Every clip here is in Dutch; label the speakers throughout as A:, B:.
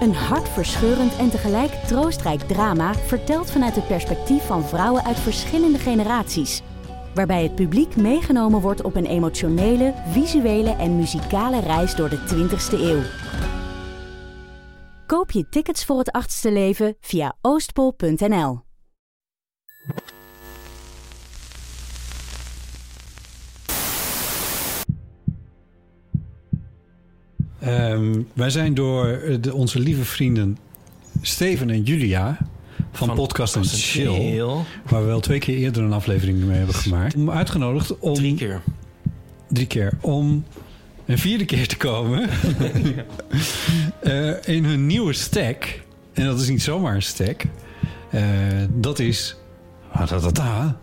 A: Een hartverscheurend en tegelijk troostrijk drama... verteld vanuit het perspectief van vrouwen uit verschillende generaties waarbij het publiek meegenomen wordt op een emotionele, visuele en muzikale reis door de 20ste eeuw. Koop je tickets voor het achtste leven via oostpol.nl.
B: Ehm, wij zijn door eh, de, onze lieve vrienden Steven en Julia van, Podcast en Chill,
C: Heel.
B: waar we wel twee keer eerder een aflevering mee hebben gemaakt, om uitgenodigd om
C: Drie keer.
B: drie keer om een vierde keer te komen Eh, in hun nieuwe stack. En dat is niet zomaar een stack. Eh, dat is.
C: Ah,
B: Ratatata.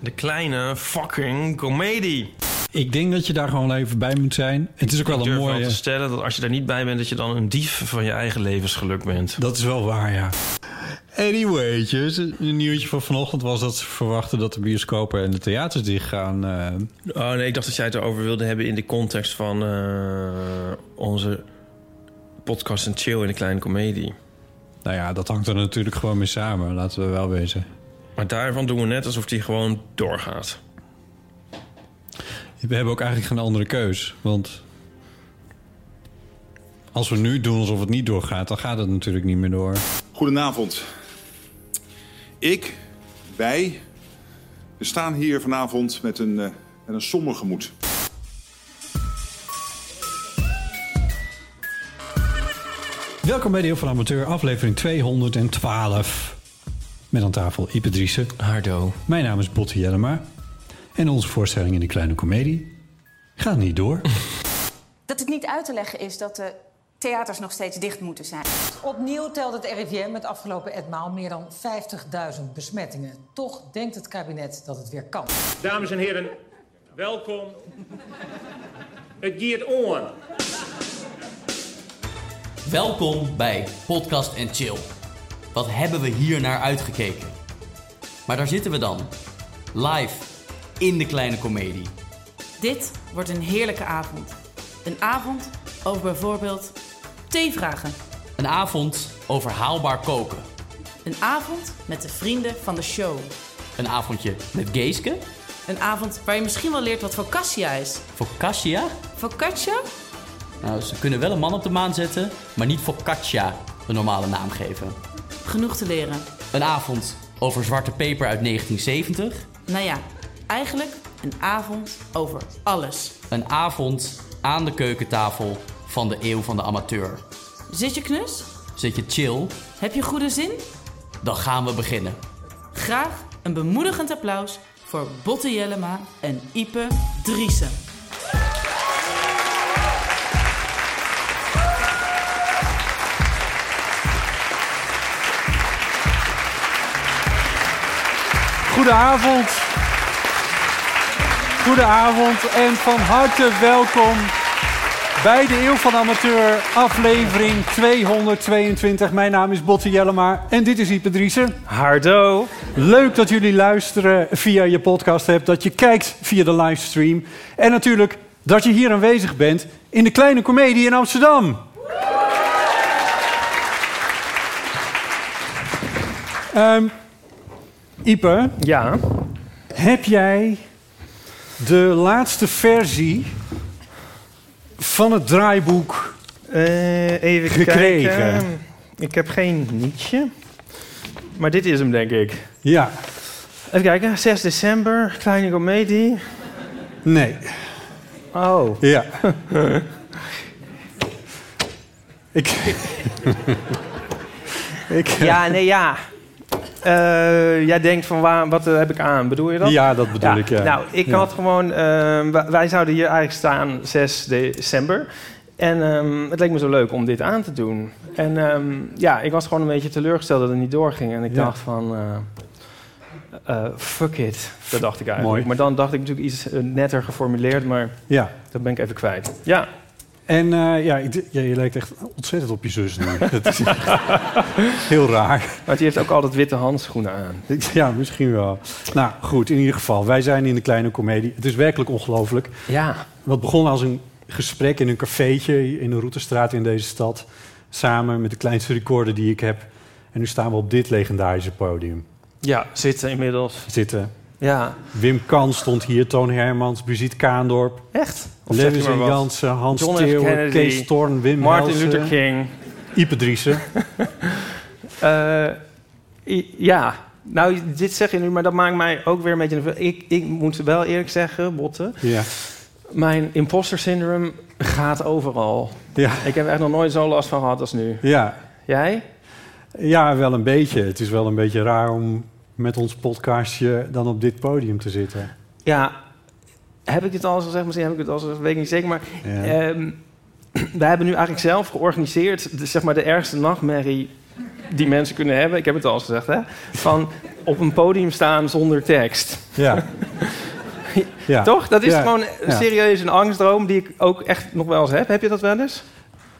C: De kleine fucking komedie.
B: Ik denk dat je daar gewoon even bij moet zijn. Het is ook wel
C: Ik
B: een
C: durf wel
B: mooie.
C: te stellen dat als je daar niet bij bent... dat je dan een dief van je eigen levensgeluk bent.
B: Dat is wel waar, ja. Anywaytjes, een nieuwtje van vanochtend was dat ze verwachten dat de bioscopen en de theaters dicht gaan. eh,
C: Oh nee, ik dacht dat jij het erover wilde hebben... in de context van eh, onze podcast en chill in de kleine komedie.
B: nou ja, dat hangt er natuurlijk gewoon mee samen, laten we wel wezen.
C: Maar daarvan doen we net alsof die gewoon doorgaat.
B: We hebben ook eigenlijk geen andere keus. Want als we nu doen alsof het niet doorgaat, dan gaat het natuurlijk niet meer door.
D: Goedenavond. Ik, wij, we staan hier vanavond met een, eh, met een somber gemoed.
B: Welkom bij Deel van Amateur, aflevering 212. Met aan tafel Ipe Driessen.
C: Hardo.
B: Mijn naam is Botte Jellema. En onze voorstelling in de kleine komedie gaat niet door.
E: Dat het niet uit te leggen is dat de theaters nog steeds dicht moeten zijn.
F: Opnieuw telt het RIVM het afgelopen etmaal meer dan 50.000 besmettingen. Toch denkt het kabinet dat het weer kan.
G: Dames en heren, welkom. Het giert on.
H: Welkom bij Podcast en Chill. Wat hebben we hier naar uitgekeken? Maar daar zitten we dan. Live in de kleine komedie.
I: Dit wordt een heerlijke avond. Een avond over bijvoorbeeld theevragen.
H: Een avond over haalbaar koken.
I: Een avond met de vrienden van de show.
H: Een avondje met Geeske,
I: Een avond waar je misschien wel leert wat focaccia is.
H: focaccia.
I: Focaccia?
H: Nou, ze kunnen wel een man op de maan zetten, maar niet focaccia een normale naam geven.
I: Genoeg te leren.
H: Een avond over zwarte peper uit 1970.
I: Nou ja, eigenlijk een avond over alles.
H: Een avond aan de keukentafel van de eeuw van de amateur.
I: Zit je knus?
H: Zit je chill,
I: Heb je goede zin?
H: dan gaan we beginnen.
I: Graag een bemoedigend applaus voor Botte Jellema en Ipe Driessen.
J: Goedenavond. Goedenavond en van harte welkom bij de Eeuw van de Amateur, aflevering 222. Mijn naam is Botte Jellema en dit is Ipe Driessen.
K: Hardo.
J: Leuk dat jullie luisteren via je podcast hebt, dat je kijkt via de livestream. En natuurlijk dat je hier aanwezig bent in de Kleine Comedie in Amsterdam. Ehm Ipe,
K: Ja.
J: heb jij de laatste versie van het draaiboek?
K: Eh, even
J: Gekregen.
K: kijken. Ik heb geen nietje. Maar dit is hem, denk ik.
J: Ja,
K: Even kijken. 6 december, kleine komedie.
J: nee,
K: Oh.
J: ja. ik... ik...
K: Ja, nee, ja. Eh, jij denkt van, waar, wat eh, heb ik aan? Bedoel je dat?
J: Ja, dat bedoel
K: Ja,
J: ik. Ja.
K: Nou, ik
J: Ja.
K: had gewoon... eh, wa- wij zouden hier eigenlijk staan 6 december. En ehm, het leek me zo leuk om dit aan te doen. En ehm, ja, ik was gewoon een beetje teleurgesteld dat het niet doorging. En ik
B: Ja.
K: dacht van, eh, eh, fuck it. Dat dacht ik eigenlijk.
B: Mooi.
K: Maar dan dacht ik natuurlijk iets eh, netter geformuleerd, maar
B: Ja.
K: dat ben ik even kwijt. Ja.
B: En eh, ja, ik d- ja, je lijkt echt ontzettend op je zus nu. Dat is echt heel raar.
K: Maar die heeft ook altijd witte handschoenen aan.
B: Ja, misschien wel. Nou, goed, in ieder geval. Wij zijn in de kleine komedie. Het is werkelijk ongelooflijk.
K: Ja.
B: Wat begon als een gesprek in een cafeetje in een routestraat in deze stad. Samen met de kleinste recorder die ik heb. En nu staan we op dit legendarische podium.
K: Ja, zitten inmiddels.
B: Zitten.
K: Ja.
B: Wim Kan stond hier, Toon Hermans, Brigitte Kaandorp.
K: Echt? Of zeg
B: Lewis
K: je maar
B: en
K: wat?
B: Jansen, Hans
K: John F.
B: Theo,
K: Kennedy,
B: Kees Thorn, Wim
K: Martin
B: Helsen,
K: Luther King.
B: Ipe Driessen.
K: Eh, i- ja, nou, dit zeg je nu, maar dat maakt mij ook weer een beetje... nerveus. Ik, ik moet wel eerlijk zeggen, Botte...
B: Ja.
K: Mijn imposter syndroom gaat overal.
B: Ja.
K: Ik heb er echt nog nooit zo last van gehad als nu.
B: Ja.
K: Jij?
B: Ja, wel een beetje. Het is wel een beetje raar om met ons podcastje dan op dit podium te zitten.
K: Ja, heb ik dit al eens gezegd? Misschien heb ik het al eens gezegd, weet ik niet zeker. Maar
B: Ja.
K: ehm, wij hebben nu eigenlijk zelf georganiseerd... De, zeg maar de ergste nachtmerrie die mensen kunnen hebben. Ik heb het al eens gezegd, hè? Van op een podium staan zonder tekst.
B: Ja. Ja.
K: Toch? Dat is
B: Ja.
K: gewoon
B: Ja.
K: serieus een angstdroom die ik ook echt nog wel eens heb. Heb je dat wel eens?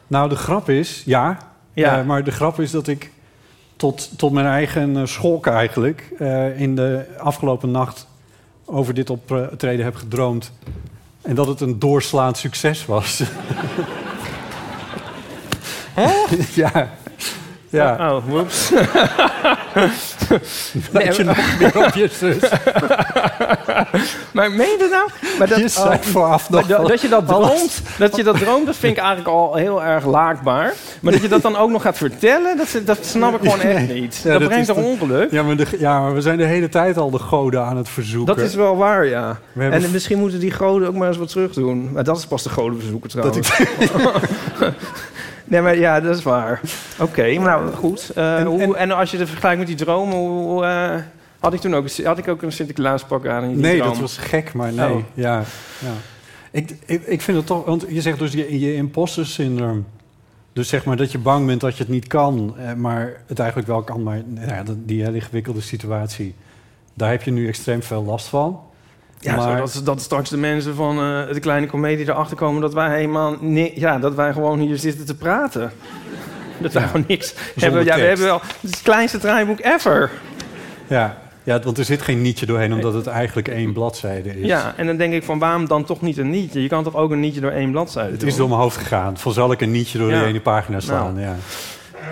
B: Nou, de grap is, ja.
K: Ja.
B: Eh, maar de grap is dat ik tot, tot mijn eigen eh, schok eigenlijk... eh, in de afgelopen nacht over dit optreden heb gedroomd. En dat het een doorslaand succes was. ja. Ja.
K: Oh, oh, whoops.
B: Lijkt je nog meer op je zus.
K: maar meen je dat nou? Maar dat,
B: Je zei vooraf
K: maar
B: nog
K: da-
B: wel
K: dat je dat
B: alles.
K: droomt, dat je dat droomt, dat vind ik eigenlijk al heel erg laakbaar. Maar dat je dat dan ook nog gaat vertellen, dat, dat snap ik gewoon echt
B: Nee.
K: niet.
B: Ja,
K: dat brengt
B: is
K: toch ongeluk?
B: Ja maar, de, ja, maar we zijn de hele tijd al de goden aan het verzoeken.
K: Dat is wel waar, ja.
B: We hebben
K: En misschien moeten die goden ook maar eens wat terug doen. Maar dat is pas de godenverzoeken
B: Dat
K: trouwens. nee, maar ja, dat is waar. Oké, nou goed. Eh, hoe- en, als je het vergelijkt met die dromen, hoe, hoe, eh, had ik toen ook, had ik ook een Sinterklaaspak aan? in die
B: Nee,
K: droom?
B: dat was gek, maar nee.
K: Oh.
B: Ja, ja. Ik, ik, ik vind het toch... Want je zegt dus je, je imposter syndroom. Dus zeg maar dat je bang bent dat je het niet kan. eh, Maar het eigenlijk wel kan. Maar nou ja, dat- die hele ingewikkelde situatie... daar heb je nu extreem veel last van.
K: Ja,
B: maar,
K: zodat dat straks de mensen van eh, de kleine komedie erachter komen dat wij helemaal ni- ja, dat wij gewoon hier zitten te praten. Dat wij
B: Ja.
K: gewoon niks hebben. Ja, we
B: tekst.
K: hebben wel het, is het kleinste draaiboek ever.
B: ja, ja, want er zit geen nietje doorheen... omdat het eigenlijk één bladzijde is.
K: Ja, en dan denk ik van waarom dan toch niet een nietje? Je kan toch ook een nietje door één bladzijde
B: Het
K: doen?
B: is door mijn hoofd gegaan. Van zal ik een nietje door
K: Ja.
B: de ene pagina slaan?
K: Nou.
B: Ja.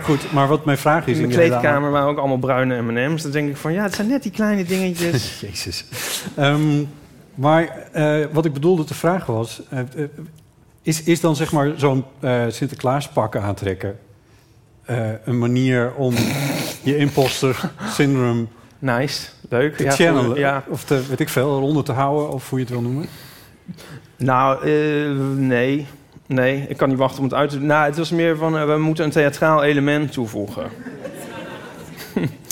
B: Goed, maar wat mijn vraag is...
K: In de
B: inderdaad-
K: kleedkamer waren ook allemaal bruine M&M's. Dan denk ik van ja, het zijn net die kleine dingetjes.
B: Jezus. Ehm, maar eh, wat ik bedoelde te vragen was... eh, eh, is, is dan zeg maar zo'n eh Sinterklaaspak aantrekken... eh, een manier om je imposter syndrome...
K: Nice, leuk.
B: Te
K: Ja, goed,
B: channelen,
K: ja.
B: of te, weet ik veel, eronder te houden, of hoe je het wil noemen.
K: Nou, eh, nee. Nee, ik kan niet wachten om het uit te doen. Nou, het was meer van eh, we moeten een theatraal element toevoegen.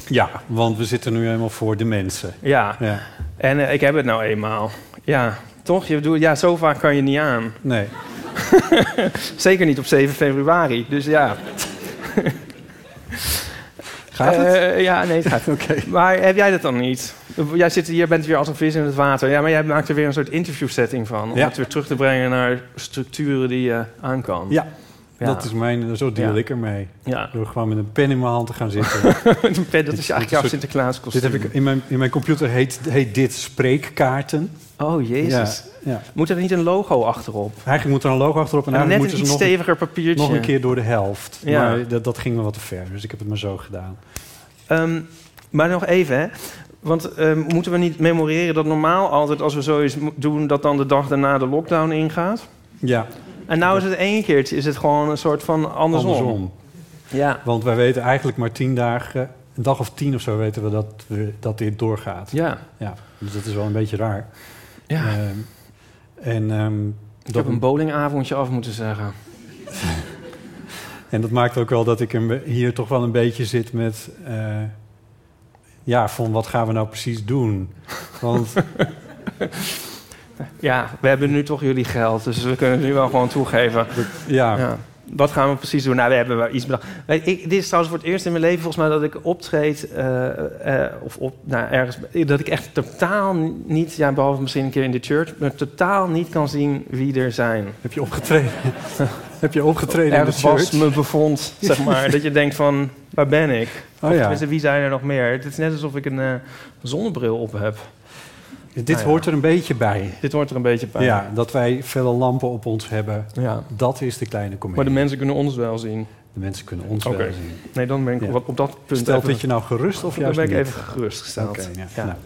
B: Ja, want we zitten nu helemaal voor de mensen.
K: Ja.
B: Ja.
K: En eh, ik heb het nou eenmaal. Ja, toch? Je bedoelt, ja, zo vaak kan je niet aan.
B: Nee.
K: Zeker niet op 7 februari. Dus ja.
B: Gaat het?
K: Eh, ja, nee, het gaat. Maar heb jij dat dan niet? Jij zit hier, bent weer als een vis in het water. Ja, maar jij maakt er weer een soort interviewsetting van. Om
B: Ja.
K: het weer terug te brengen naar structuren die je aan kan.
B: Ja,
K: Ja.
B: dat is mijn... eh, Zo deal
K: Ja.
B: ik ermee.
K: Ja.
B: Door gewoon met een pen in mijn hand te gaan zitten.
K: Een pen, dat is eigenlijk jouw Sinterklaas kostuum.
B: Dit heb ik in mijn, in mijn computer heet, heet dit spreekkaarten.
K: Oh, jezus.
B: Ja, ja.
K: Moet er niet een logo achterop?
B: Eigenlijk moet er een logo achterop en
K: En
B: eigenlijk
K: net een
B: moeten ze
K: iets
B: nog,
K: steviger papiertje.
B: nog een keer door de helft.
K: Ja.
B: Maar dat, dat ging me wat te ver, dus ik heb het maar zo gedaan.
K: Ehm, maar nog even, hè. Want ehm, moeten we niet memoreren dat normaal altijd als we zoiets mo- doen... dat dan de dag daarna de lockdown ingaat?
B: Ja,
K: En nou is het één keertje, is het gewoon een soort van andersom.
B: andersom.
K: Ja.
B: Want wij weten eigenlijk maar tien dagen, een dag of tien of zo weten we dat, we, dat dit doorgaat.
K: Ja.
B: ja. Dus dat is wel een beetje raar.
K: Ja.
B: Ehm, en, ehm,
K: Ik
B: dat-
K: heb een bowlingavondje af moeten zeggen.
B: En dat maakt ook wel dat ik hem hier toch wel een beetje zit met... eh, ja, van wat gaan we nou precies doen? Want
K: Ja, we hebben nu toch jullie geld, dus we kunnen het nu wel gewoon toegeven.
B: Ja.
K: Wat gaan we precies doen? Nou, we hebben wel iets bedacht. Weet ik, dit is trouwens voor het eerst in mijn leven volgens mij dat ik optreed... eh, eh, of op, nou, ergens... dat ik echt totaal niet... Ja, behalve misschien een keer in de church... maar totaal niet kan zien wie er zijn.
B: Heb je opgetreden? Heb je opgetreden in de
K: Ergens was
B: church?
K: me bevond, zeg maar. dat je denkt van, waar ben ik?
B: Oh,
K: of
B: ja.
K: tenminste, wie zijn er nog meer? Het is net alsof ik een eh, zonnebril op heb.
B: Dit
K: Nou ja.
B: hoort er een beetje bij.
K: Dit hoort er een beetje bij.
B: Ja, dat wij vele lampen op ons hebben.
K: Ja.
B: Dat is de kleine komedie.
K: Maar de mensen kunnen ons wel zien.
B: De mensen kunnen ons
K: Oké.
B: wel zien.
K: Nee, dan ben ik
B: Ja.
K: op, op dat punt...
B: Stelt
K: even-
B: dat je nou gerust of juist
K: Dan ben ik
B: niet?
K: even gerustgesteld.
B: Oké, ja.
K: Ja.
B: Nou.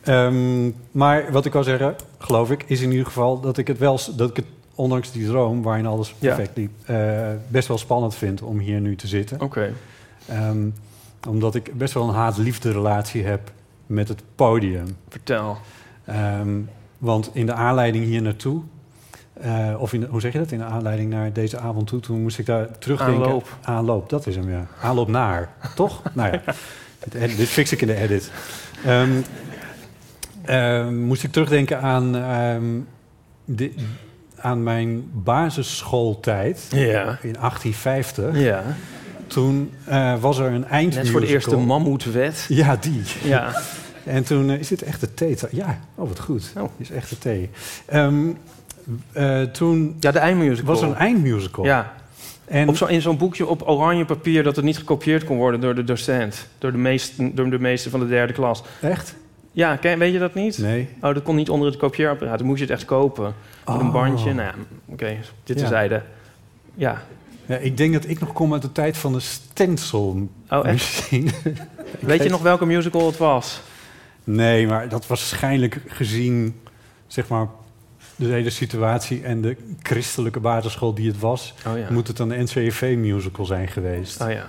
B: Ehm, maar wat ik wil zeggen, geloof ik, is in ieder geval dat ik het wel, dat ik het ondanks die droom waarin alles
K: Ja.
B: perfect liep, eh, best wel spannend vind om hier nu te zitten. Oké. omdat ik best wel een haat-liefde relatie heb met het podium.
K: Vertel.
B: Ehm, want in de aanleiding hier naartoe, eh, of in de- hoe zeg je dat? In de aanleiding naar deze avond toe, toen moest ik daar terugdenken.
K: Aanloop.
B: Aanloop, dat is hem, ja. Aanloop naar, toch? Nou ja, dit, ed- dit fix ik in de edit. Ehm, ehm, moest ik terugdenken aan, ehm, di- aan mijn basisschooltijd
K: Ja.
B: in 1850.
K: Ja.
B: Toen eh, was er een eindmusical.
K: Net voor de eerste mammoetwet.
B: Ja, die.
K: Ja.
B: En toen eh, is dit echt de thee. Ja, oh wat goed. Is echt de thee. Ehm, eh, toen
K: ja, de eindmusical.
B: was er een eindmusical.
K: Ja.
B: En-
K: op zo, in zo'n boekje op oranje papier dat het niet gekopieerd kon worden door de docent. Door de meesten, door de meester van de derde klas.
B: Echt?
K: Ja, ken, weet je dat niet?
B: Nee.
K: Oh, dat kon niet onder het kopieerapparaat. Dan moest je het echt kopen. Met een
B: Oh.
K: bandje. Nou ja, oké.
B: Ja.
K: dit terzijde. Ja.
B: Ja, ik denk dat ik nog kom uit de tijd van de stencil.
K: Oh, echt?
B: misschien. Ik
K: Weet je nog welke musical het was?
B: Nee, maar dat waarschijnlijk gezien zeg maar, de hele situatie en de christelijke basisschool die het was,
K: Oh ja.
B: moet het een NCV-musical zijn geweest.
K: Oh ja.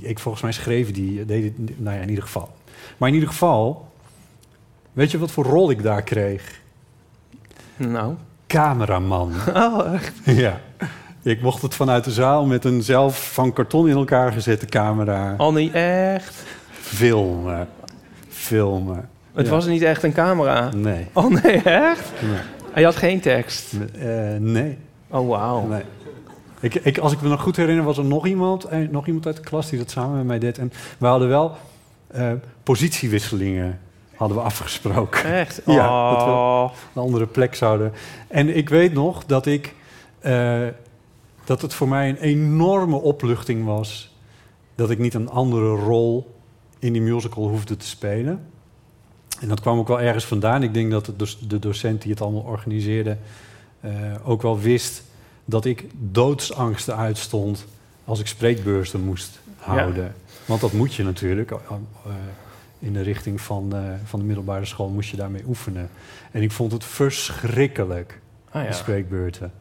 B: Ik volgens mij schreef die, deed het, nou ja, in ieder geval. Maar in ieder geval, weet je wat voor rol ik daar kreeg?
K: Nou.
B: Cameraman.
K: Oh, echt?
B: Ja. Ik mocht het vanuit de zaal met een zelf van karton in elkaar gezette camera
K: Al niet echt.
B: filmen. Filmen.
K: Het
B: Ja.
K: was niet echt een camera.
B: Nee.
K: Oh nee, echt?
B: Nee.
K: En je had geen tekst?
B: Eh, nee.
K: Oh, wauw.
B: Nee. Ik, ik, als ik me nog goed herinner, was er nog iemand, eh, nog iemand uit de klas die dat samen met mij deed. En we hadden wel eh, positiewisselingen hadden we afgesproken.
K: Echt?
B: Ja, dat we
K: Oh.
B: een andere plek zouden. En ik weet nog dat ik eh, dat het voor mij een enorme opluchting was dat ik niet een andere rol in die musical hoefde te spelen. En dat kwam ook wel ergens vandaan. Ik denk dat het dus de docent die het allemaal organiseerde eh, ook wel wist dat ik doodsangsten uitstond als ik spreekbeurzen moest houden. Want dat moet je natuurlijk. eh, eh, in de richting van, eh, van de middelbare school moest je daarmee oefenen. En ik vond het verschrikkelijk,
K: Ah, ja.
B: die spreekbeurten.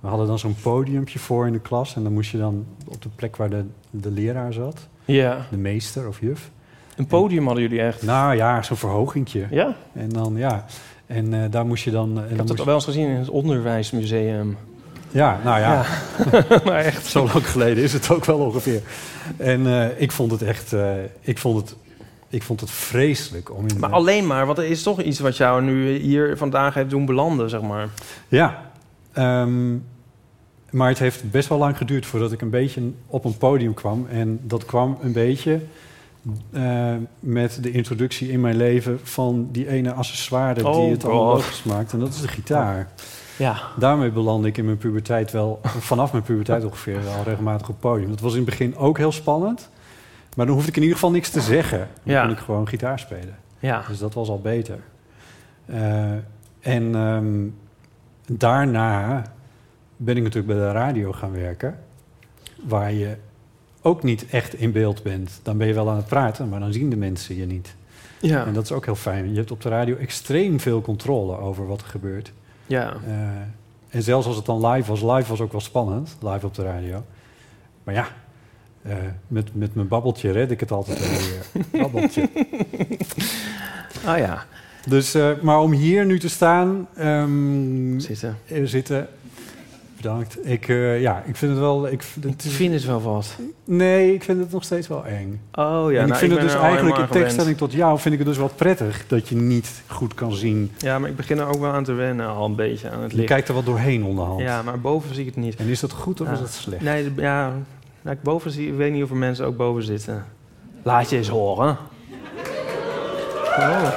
B: We hadden dan zo'n podiumpje voor in de klas... en dan moest je dan op de plek waar de, de leraar zat...
K: Ja.
B: de meester of juf...
K: Een podium hadden jullie echt?
B: Nou ja, zo'n verhogingtje.
K: Ja?
B: En dan, ja. En eh, daar moest je dan... en
K: Ik
B: dan
K: heb
B: moest
K: dat
B: je-
K: al wel eens gezien in het onderwijsmuseum.
B: Ja, nou ja.
K: maar echt.
B: Zo lang geleden is het ook wel ongeveer. En eh, ik vond het echt... eh, ik, vond het, ik vond het vreselijk om in...
K: Maar alleen maar, want er is toch iets wat jou nu hier vandaag hebt doen belanden, zeg maar.
B: Ja. Ehm, maar het heeft best wel lang geduurd voordat ik een beetje op een podium kwam. En dat kwam een beetje eh, met de introductie in mijn leven van die ene accessoire
K: Oh
B: die het allemaal
K: God.
B: mogelijk maakt. En dat is de gitaar.
K: Ja.
B: Daarmee belandde ik in mijn puberteit wel, vanaf mijn puberteit ongeveer, al regelmatig op het podium. Dat was in het begin ook heel spannend. Maar dan hoefde ik in ieder geval niks te zeggen. Dan
K: Ja.
B: kon ik gewoon gitaar spelen.
K: Ja.
B: Dus dat was al beter. Eh, en ehm, daarna ben ik natuurlijk bij de radio gaan werken. Waar je ook niet echt in beeld bent. Dan ben je wel aan het praten, maar dan zien de mensen je niet.
K: Ja.
B: En dat is ook heel fijn. Je hebt op de radio extreem veel controle over wat er gebeurt.
K: Ja.
B: Eh, en zelfs als het dan live was, live was ook wel spannend, live op de radio. Maar ja, eh, met, met mijn babbeltje red ik het altijd wel weer. babbeltje.
K: Ah ja.
B: Dus, eh, maar om hier nu te staan... ehm,
K: zitten.
B: eh, zitten bedankt. Ik, eh, ja, ik vind het wel... Ik, ik
K: vind het wel wat.
B: Nee, ik vind het nog steeds wel eng.
K: Oh ja,
B: en ik
K: nou, ik
B: vind het
K: ben
B: dus
K: er al
B: eigenlijk, in
K: helemaal aan
B: tegenstelling tot jou, vind ik het dus wel prettig dat je niet goed kan zien.
K: Ja, maar ik begin er ook wel aan te wennen, al een beetje aan het
B: Je
K: licht.
B: kijkt er wel doorheen onderhand.
K: Ja, maar boven zie ik het niet.
B: En is dat goed of
K: Ja.
B: is dat slecht?
K: Nee, d- ja, nou, ik boven zie, ik weet niet of er mensen ook boven zitten. Laat je eens horen. Oh.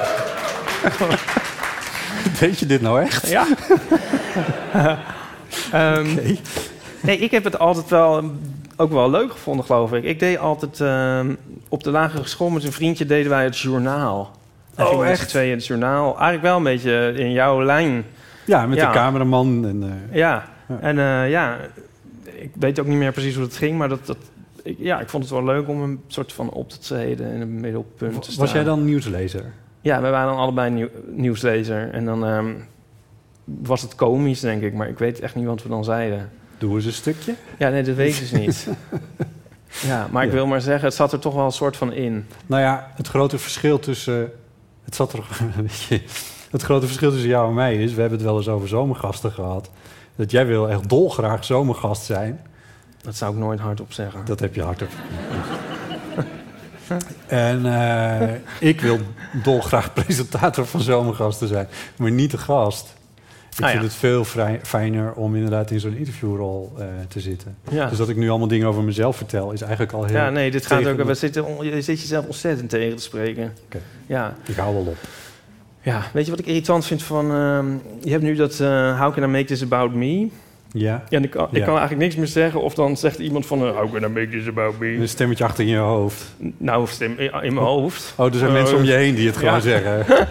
B: Weet je dit nou echt?
K: Ja. Ehm, Nee, ik heb het altijd wel mm, ook wel leuk gevonden, geloof ik. Ik deed altijd ehm, op de lagere school met een vriendje deden wij het journaal. Dan
B: Oh,
K: gingen we met z'n
B: echt?
K: tweeën het journaal. Eigenlijk wel een beetje in jouw lijn.
B: Ja, met
K: Ja.
B: de cameraman. En, eh,
K: Ja, en eh, ja, ik weet ook niet meer precies hoe dat ging, maar dat, dat, ik, ja, ik vond het wel leuk om een soort van op te treden en een middelpunt te staan.
B: was jij dan nieuwslezer?
K: Ja, we waren dan allebei nieuw- nieuwslezer. En dan ehm, was het komisch, denk ik, maar ik weet echt niet wat we dan zeiden.
B: Doe eens een stukje.
K: Ja, nee, dat weet ik dus niet. Ja, maar ik
B: Ja.
K: wil maar zeggen, het zat er toch wel een soort van in.
B: Nou ja, het grote verschil tussen. eh, Het zat er. weet je, Het grote verschil tussen jou en mij is. We hebben het wel eens over zomergasten gehad. Dat jij wil echt dolgraag zomergast zijn.
K: Dat zou ik nooit hardop zeggen.
B: Dat heb je hardop. en eh, ik wil dolgraag presentator van zomergasten zijn. Maar niet de gast. Ik
K: Ah, ja.
B: vind het veel vrij- fijner om inderdaad in zo'n interviewrol eh, te zitten.
K: Ja.
B: Dus dat ik nu allemaal dingen over mezelf vertel, is eigenlijk al heel.
K: Ja, nee, dit gaat
B: tegen
K: ook.
B: de-
K: We zitten, on- je zit jezelf ontzettend tegen te spreken. Ja.
B: Ik hou wel op.
K: Ja, weet je wat ik irritant vind van... ehm, je hebt nu dat eh, How Can I Make This About Me?
B: Ja.
K: Ja, en ik, kan- ik
B: Ja.
K: kan eigenlijk niks meer zeggen. Of dan zegt iemand van... eh, How Can I Make This About Me?
B: Een stemmetje achter in je hoofd.
K: Nou, of stem in, in mijn hoofd.
B: Oh, er zijn
K: Eh,
B: mensen om je heen die het gewoon
K: ja.
B: zeggen.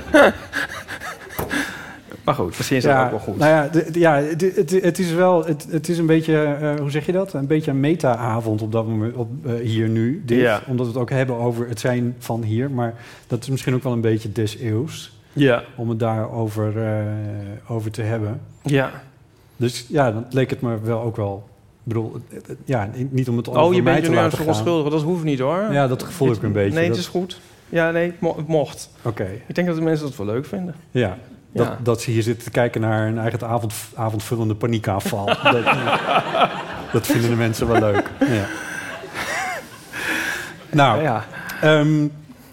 K: maar goed, misschien is dat ook wel goed.
B: Nou ja, d- d- ja d- het, het is wel, het, het is een beetje, eh, hoe zeg je dat? Een beetje een meta-avond op dat moment, op, eh, hier nu. Dit,
K: Ja.
B: Omdat we het ook hebben over het zijn van hier. Maar dat is misschien ook wel een beetje des eeuws.
K: Ja.
B: Om het daarover eh, over te hebben.
K: Ja.
B: Dus ja, dan leek het me wel ook wel... Ik bedoel, het- het- ja, niet om het
K: Oh,
B: over
K: je
B: mij
K: bent
B: te
K: je nu aan
B: laten
K: het
B: gaan.
K: verontschuldigen. Dat hoeft niet hoor.
B: Ja, dat gevoel heb ik een beetje.
K: Nee,
B: Dat-
K: het is goed. Ja, nee, het mo- het mocht.
B: Oké.
K: Ik denk dat de mensen dat wel leuk vinden.
B: Ja. Dat,
K: Ja.
B: dat ze hier zitten te kijken naar een eigen avond, avondvullende paniekaanval. dat, dat vinden de mensen wel leuk. Ja. Nou, ehm,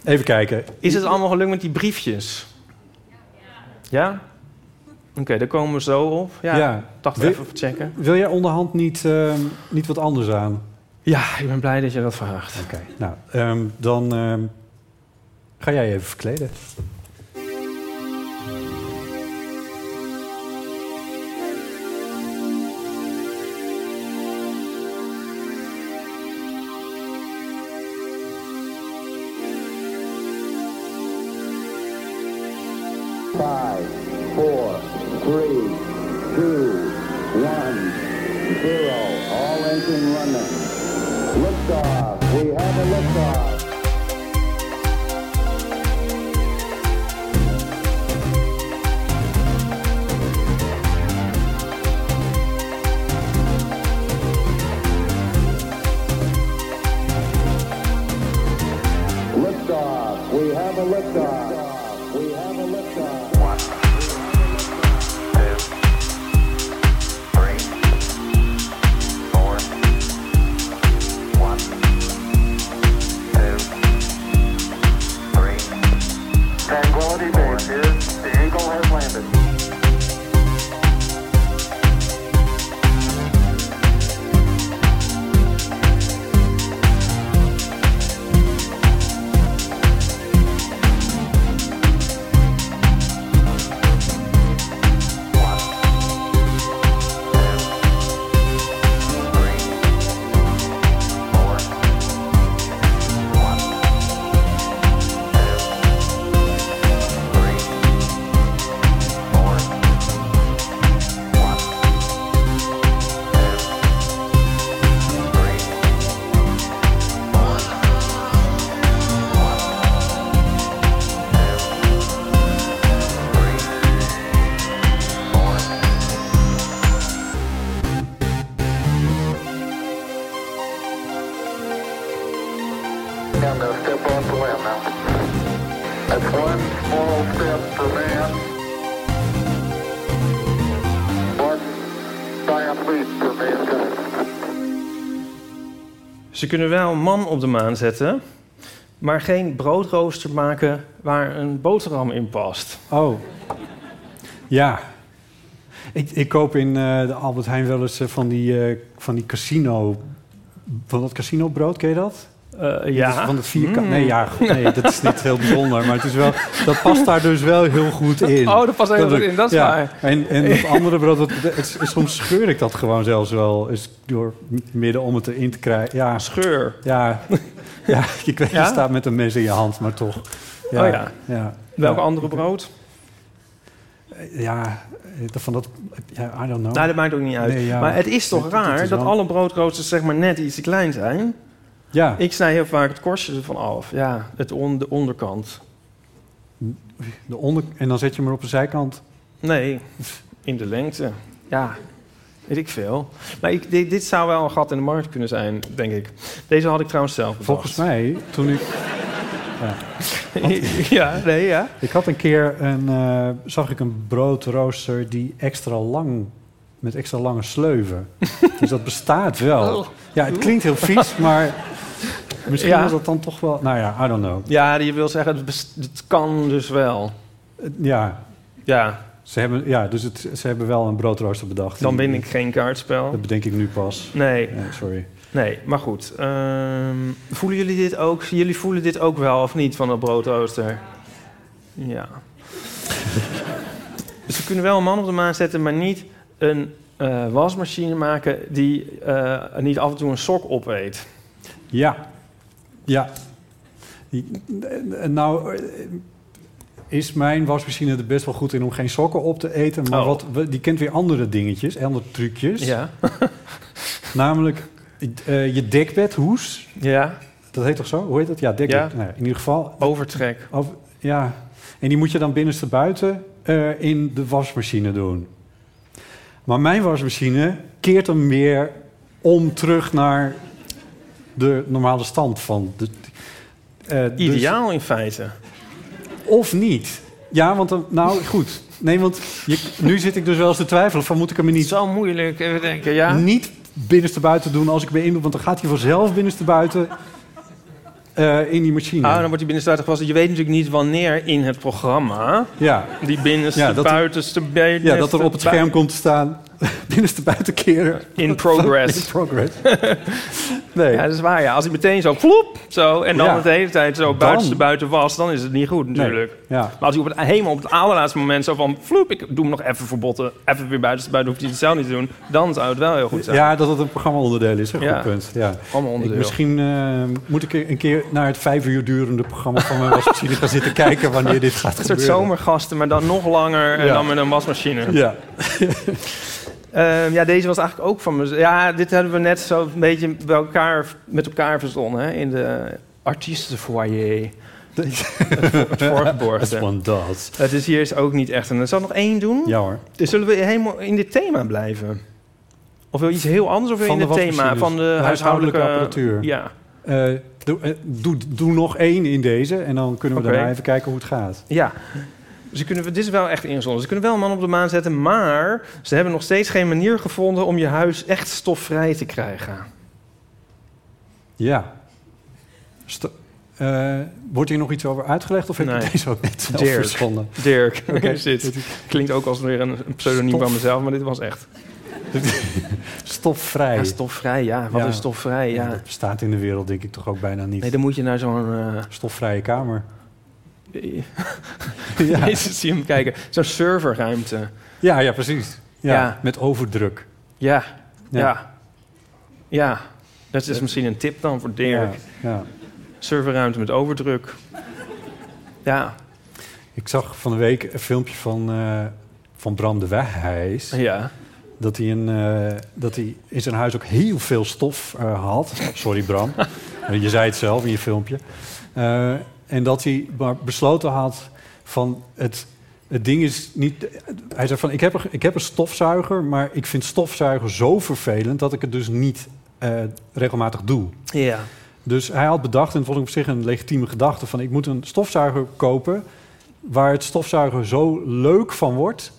B: even kijken.
K: Is het allemaal gelukt met die briefjes? Ja? Oké, daar komen we zo op. Ja,
B: Ja.
K: dacht
B: Wil-
K: even checken.
B: Wil jij onderhand niet, ehm, niet wat anders aan?
K: Ja, ik ben blij dat je dat vraagt.
B: Oké, nou, ehm, dan ehm, ga jij je even verkleden.
L: Five, four, three, two, one, zero. All engine running. Liftoff. We have a liftoff. Liftoff. We have a liftoff. We have a liftoff. Tranquility Base here. The Eagle has landed. And now step off the land now. That's one small step for man, one giant leap
K: Ze kunnen wel een man op de maan zetten, maar geen broodrooster maken waar een boterham in past.
B: Oh. Ja. Ik, ik koop in eh, de Albert Heijn wel eens eh, van, die, eh, van die casino... Van dat casino brood, ken je dat?
K: Eh, ja.
B: Dat is Van het vierkant.
K: Mm.
B: Nee, ja, goed, nee, dat is niet heel bijzonder. Maar het is wel, dat past daar dus wel heel goed in.
K: Oh, dat past heel goed in, dat is
B: ja.
K: waar.
B: En, en dat andere brood, dat, dat- het- soms scheur ik dat gewoon zelfs wel. Is door midden om het erin te krijgen. Ja.
K: Scheur?
B: Ja, ja je, krijgt,
K: Ja?
B: je staat met een mes in je hand, maar toch.
K: Oh ja. Welke andere brood?
B: Ja, eh, van dat... Ja, I don't know.
K: Nou, dat maakt ook niet uit.
B: Nee, ja.
K: Maar het is toch
B: Het- het
K: raar
B: is
K: dat
B: wel-
K: alle broodroosters zeg maar net iets te klein zijn?
B: Ja.
K: Ik snij heel vaak het korstje ervan af. Ja, het on- de onderkant.
B: De onder, en dan zet je hem er op de zijkant.
K: Nee, in de lengte. Ja, weet ik veel. Maar ik, dit, dit zou wel een gat in de markt kunnen zijn, denk ik. Deze had ik trouwens zelf bedacht.
B: Volgens mij, toen ik... Ja. Want-
K: ja, nee, ja.
B: Ik had een keer een... eh, zag ik een broodrooster die extra lang... Met extra lange sleuven. dus dat bestaat wel. Ja, het klinkt heel vies, maar... Oh. Misschien
K: Oh. Ja.
B: was dat dan toch wel... Nou ja, I don't know.
K: Ja, je wil zeggen, het, best- het kan dus wel.
B: Eh, Ja.
K: Ja.
B: Ze hebben, ja, dus het, ze hebben wel een broodrooster bedacht.
K: Dan win ik geen kaartspel.
B: Dat bedenk ik nu pas.
K: Nee.
B: Ja, sorry.
K: Nee, maar goed. Ehm, voelen jullie dit ook? Jullie voelen dit ook wel of niet van dat broodrooster? Ja. dus we kunnen wel een man op de maan zetten, maar niet een eh, wasmachine maken die eh, niet af en toe een sok opeet.
B: Ja. Ja. Die- eh, Nou eh, is mijn wasmachine er best wel goed in om geen sokken op te eten. Maar
K: Oh.
B: wat, we- die kent weer andere dingetjes, andere trucjes.
K: Ja.
B: Namelijk eh, je dekbedhoes.
K: Ja.
B: Dat heet toch zo? Hoe heet dat? Ja, dekbed.
K: Ja.
B: Nou, in ieder geval.
K: Overtrek.
B: Over- ja. En die moet je dan binnenstebuiten eh in de wasmachine doen. Maar mijn wasmachine keert hem weer om terug naar de normale stand van de. eh, dus-
K: Ideaal in feite.
B: of niet? Ja, want dan, nou goed. Nee, want je, nu zit ik dus wel eens te twijfelen van moet ik hem er niet
K: zo moeilijk even denken, ja.
B: Niet binnenste buiten doen als ik ben in, want dan gaat hij vanzelf binnenste buiten eh, in die machine.
K: Ah, dan wordt die binnenstuiter gewassen. Je weet natuurlijk niet wanneer in het programma
B: Ja.
K: die binnenste,
B: Ja, dat er-
K: buitenste, binnenste...
B: Ja, dat er op het
K: bui-
B: scherm komt te staan binnenste buiten keren.
K: In progress.
B: In progress.
K: Nee. Ja, dat is waar. Ja. Als hij meteen zo floep, zo, en dan
B: Ja.
K: de hele tijd zo
B: Dan.
K: buitenste buiten was, dan is het niet goed natuurlijk.
B: Nee, ja.
K: Maar als hij op het, helemaal op het allerlaatste moment zo van floep, ik doe hem nog even verbotten, even weer buitenste buiten, hoeft hij het zelf niet te doen, dan zou het wel heel goed zijn.
B: Ja, dat het een programma-onderdeel is. Een
K: Ja.
B: goed punt. Ja.
K: Programma-onderdeel.
B: Ik- Misschien eh, moet ik een keer naar het vijf uur durende programma van mijn wasmachine gaan zitten kijken wanneer dit gaat
K: Een
B: gebeuren.
K: soort zomergasten, maar dan nog langer en
B: Ja.
K: dan met een wasmachine.
B: Ja.
K: Ehm, ja, deze was eigenlijk ook van me. Ja, dit hebben we net zo een beetje bij elkaar, met elkaar verzonnen hè, in de artiestenfoyer. Het
B: As
K: voorgeborgde.
B: one does.
K: Het is hier is ook niet echt een. Zal ik nog één doen?
B: Ja hoor.
K: Dus zullen we helemaal in dit thema blijven? Of wil je iets heel anders of wil je
B: Van
K: in
B: de
K: het thema
B: wasmachines.
K: van de
B: De
K: huishoudelijke
B: huishoudelijke apparatuur.
K: Ja.
B: Eh, doe, eh, doe, doe nog één in deze en dan kunnen we
K: Oké.
B: daarna even kijken hoe het gaat.
K: Ja. Ze kunnen, dit is wel echt inzonden. Ze kunnen wel een man op de maan zetten, maar ze hebben nog steeds geen manier gevonden om je huis echt stofvrij te krijgen.
B: Ja. Sto- eh, wordt hier nog iets over uitgelegd of heb ik deze ook net zelf verzonnen?
K: Dirk.
B: Oké.
K: is dit. Klinkt ook als weer een een pseudoniem
B: Stof.
K: van mezelf, maar dit was echt.
B: Stofvrij.
K: Ja, stofvrij, ja. Wat is stofvrij, ja.
B: Dat bestaat in de wereld denk ik toch ook bijna niet.
K: Nee, dan moet je naar zo'n... eh,
B: Stofvrije kamer.
K: ja. Jezus, zie hem kijken. Zo'n serverruimte.
B: Ja, ja, precies. Ja,
K: Ja.
B: Met overdruk.
K: Ja,
B: Ja.
K: ja. Ja. Dat is misschien een tip dan voor Dirk.
B: Ja, ja.
K: Serverruimte met overdruk. Ja,
B: Ik zag van de week een filmpje van, eh, van Bram de Weghijs.
K: Ja.
B: Dat hij, een, eh, dat hij in zijn huis ook heel veel stof eh, had. Sorry Bram, je zei het zelf in je filmpje. Eh, en dat hij maar besloten had van het, het ding is niet... Hij zei van ik heb, een, ik heb een stofzuiger, maar ik vind stofzuiger zo vervelend... dat ik het dus niet eh, regelmatig doe.
K: ja.
B: Dus hij had bedacht, en dat vond ik op zich een legitieme gedachte... van ik moet een stofzuiger kopen waar het stofzuiger zo leuk van wordt...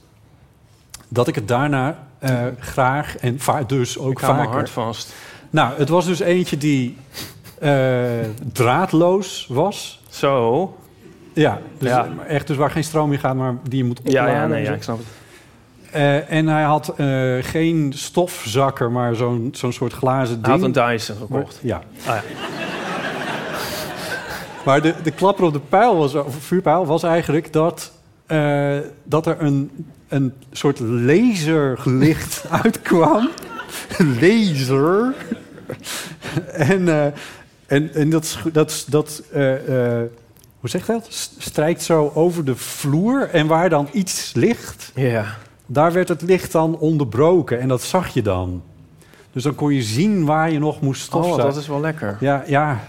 B: dat ik het daarna eh, graag en va- dus ook
K: Ik hou mijn
B: vaker...
K: hart vast.
B: Nou, het was dus eentje die eh, draadloos was.
K: Zo.
B: Ja, dus
K: Ja.
B: echt dus waar geen stroom in gaat, maar die je moet
K: Ja,
B: opladen.
K: ja, nee,
B: en zo.
K: ja, ik snap het.
B: Eh, en hij had eh, geen stofzakker, maar zo'n zo'n soort glazen
K: Hij
B: ding.
K: had een Dyson gekocht.
B: Ja.
K: Ah, ja.
B: Maar de, de klapper op de pijl was, of vuurpijl was eigenlijk dat, eh, dat er een, een soort laserlicht uitkwam. Laser. en eh, en, en dat, scho- dat, dat eh, eh, hoe zeg je dat? S- Strijkt zo over de vloer en waar dan iets ligt, daar werd het licht dan onderbroken en dat zag je dan. Dus dan kon je zien waar je nog moest
K: Oh,
B: stofzuigen.
K: dat is wel lekker.
B: Ja, ja.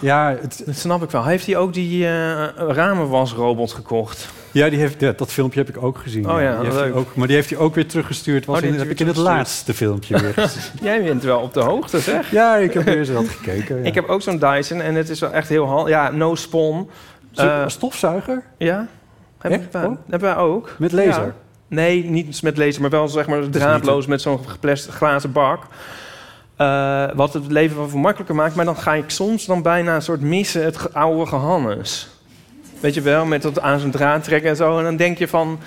B: ja het,
K: dat snap ik wel. Heeft hij ook die eh, ramenwasrobot gekocht?
B: Ja, die heeft, ja, dat filmpje heb ik ook gezien.
K: Oh ja,
B: Die heeft hij
K: leuk.
B: ook, maar die heeft hij ook weer teruggestuurd. Was
K: Oh, die
B: in,
K: heeft
B: heb
K: hij
B: ik in het
K: weer
B: laatste filmpje weer gezien.
K: Jij bent wel op de hoogte, zeg.
B: Ja, ik heb weer eens wat gekeken. Ja.
K: Ik heb ook zo'n Dyson en het is wel echt heel handig. Ja, no spon.
B: Zo'n
K: Eh,
B: stofzuiger?
K: Ja. Hebben
B: Echt? Oh.
K: wij, hebben wij ook.
B: Met laser? Dus
K: Ja. Nee, niet met laser, maar wel zeg maar draadloos met zo'n geplastic glazen bak. Eh, wat het leven wel veel makkelijker maakt. Maar dan ga ik soms dan bijna een soort missen het ge- oude gehannes. Weet je wel, met dat aan zo'n draad trekken en zo. En dan denk je van...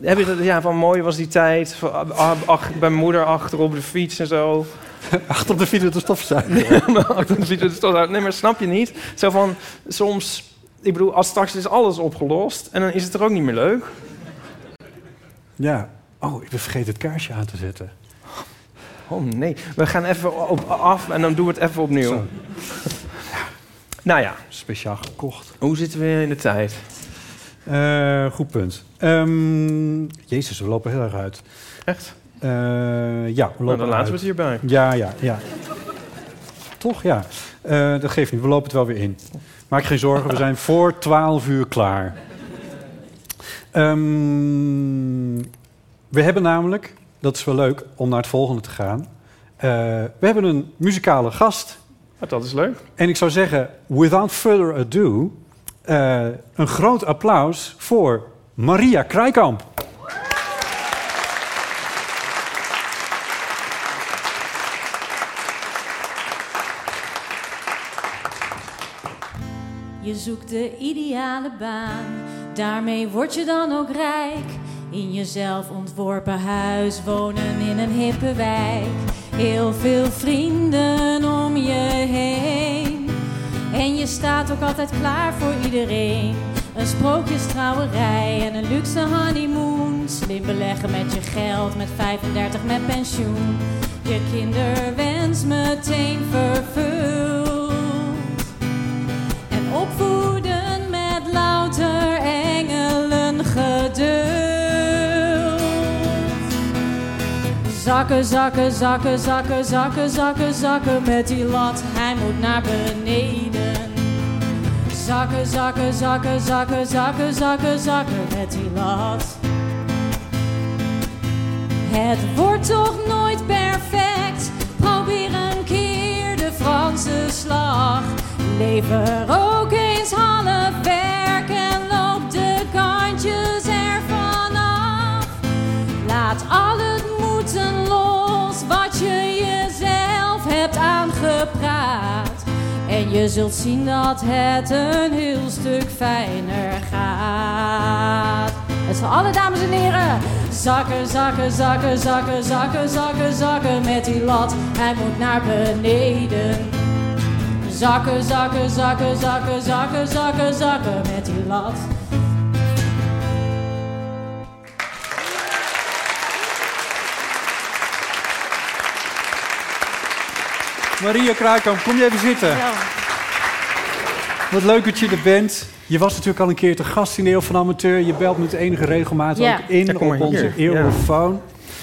K: Heb je dat, ja, van mooi was die tijd. Van, ah, ach, bij mijn moeder achter op de fiets en zo.
B: achter op de fiets met de stofzuiger?
K: Nee, maar achter de fiets met de stofzuiger. dus Nee, maar snap je niet? Zo van, soms... Ik bedoel, als straks is alles opgelost... en dan is het er ook niet meer leuk.
B: Ja. Oh, ik ben vergeten het kaarsje aan te zetten.
K: Oh nee, we gaan even op, af en dan doen we het even opnieuw. Nou ja.
B: Speciaal gekocht.
K: Hoe zitten we in de tijd?
B: Eh, goed punt. Ehm, Jezus, we lopen heel erg uit.
K: Echt?
B: Eh, ja, we lopen
K: Nou, dan laten we
B: uit.
K: het hierbij.
B: Ja, ja, ja. Toch, ja. Eh, dat geeft niet, we lopen het wel weer in. Maak geen zorgen, we zijn voor 12 uur klaar. Ehm, we hebben namelijk, dat is wel leuk om naar het volgende te gaan. Eh, we hebben een muzikale gast.
K: Oh, Dat is leuk.
B: En ik zou zeggen, without further ado, eh, een groot applaus voor Maria Krijkamp.
I: Je zoekt de ideale baan, daarmee word je dan ook rijk. In jezelf ontworpen huis, wonen in een hippe wijk. Heel veel vrienden om je heen. En je staat ook altijd klaar voor iedereen. Een sprookjestrouwerij en een luxe honeymoon. Slim beleggen met je geld, met 35 met pensioen. Je kinderwens meteen vervuld. En opvoeden met louter engelen geduld. Zakken, zakken, zakken, zakken, zakken, zakken, zakken met die lat. Hij moet naar beneden. Zakken, zakken, zakken, zakken, zakken, zakken, zakken met die lat. Het wordt toch nooit perfect. Probeer een keer de Franse slag. Lever ook eens half werk en loop de kantjes ervan af. Laat al het moeten los wat je jezelf hebt aangepraat. En je zult zien dat het een heel stuk fijner gaat. Het zijn alle dames en heren. Zakken, zakken, zakken, zakken, zakken, zakken, zakken met die lat. Hij moet naar beneden. Zakken, zakken, zakken, zakken, zakken, zakken, zakken met die lat.
B: Maria Kruikamp, kom jij even zitten. Wat leuk dat je er bent. Je was natuurlijk al een keer te gast in Eeuw van Amateur. Je belt met enige regelmaat
I: Ja.
B: ook in
I: Ja, kom maar
B: op onze
I: hier. Ja.
B: eeuwfoon.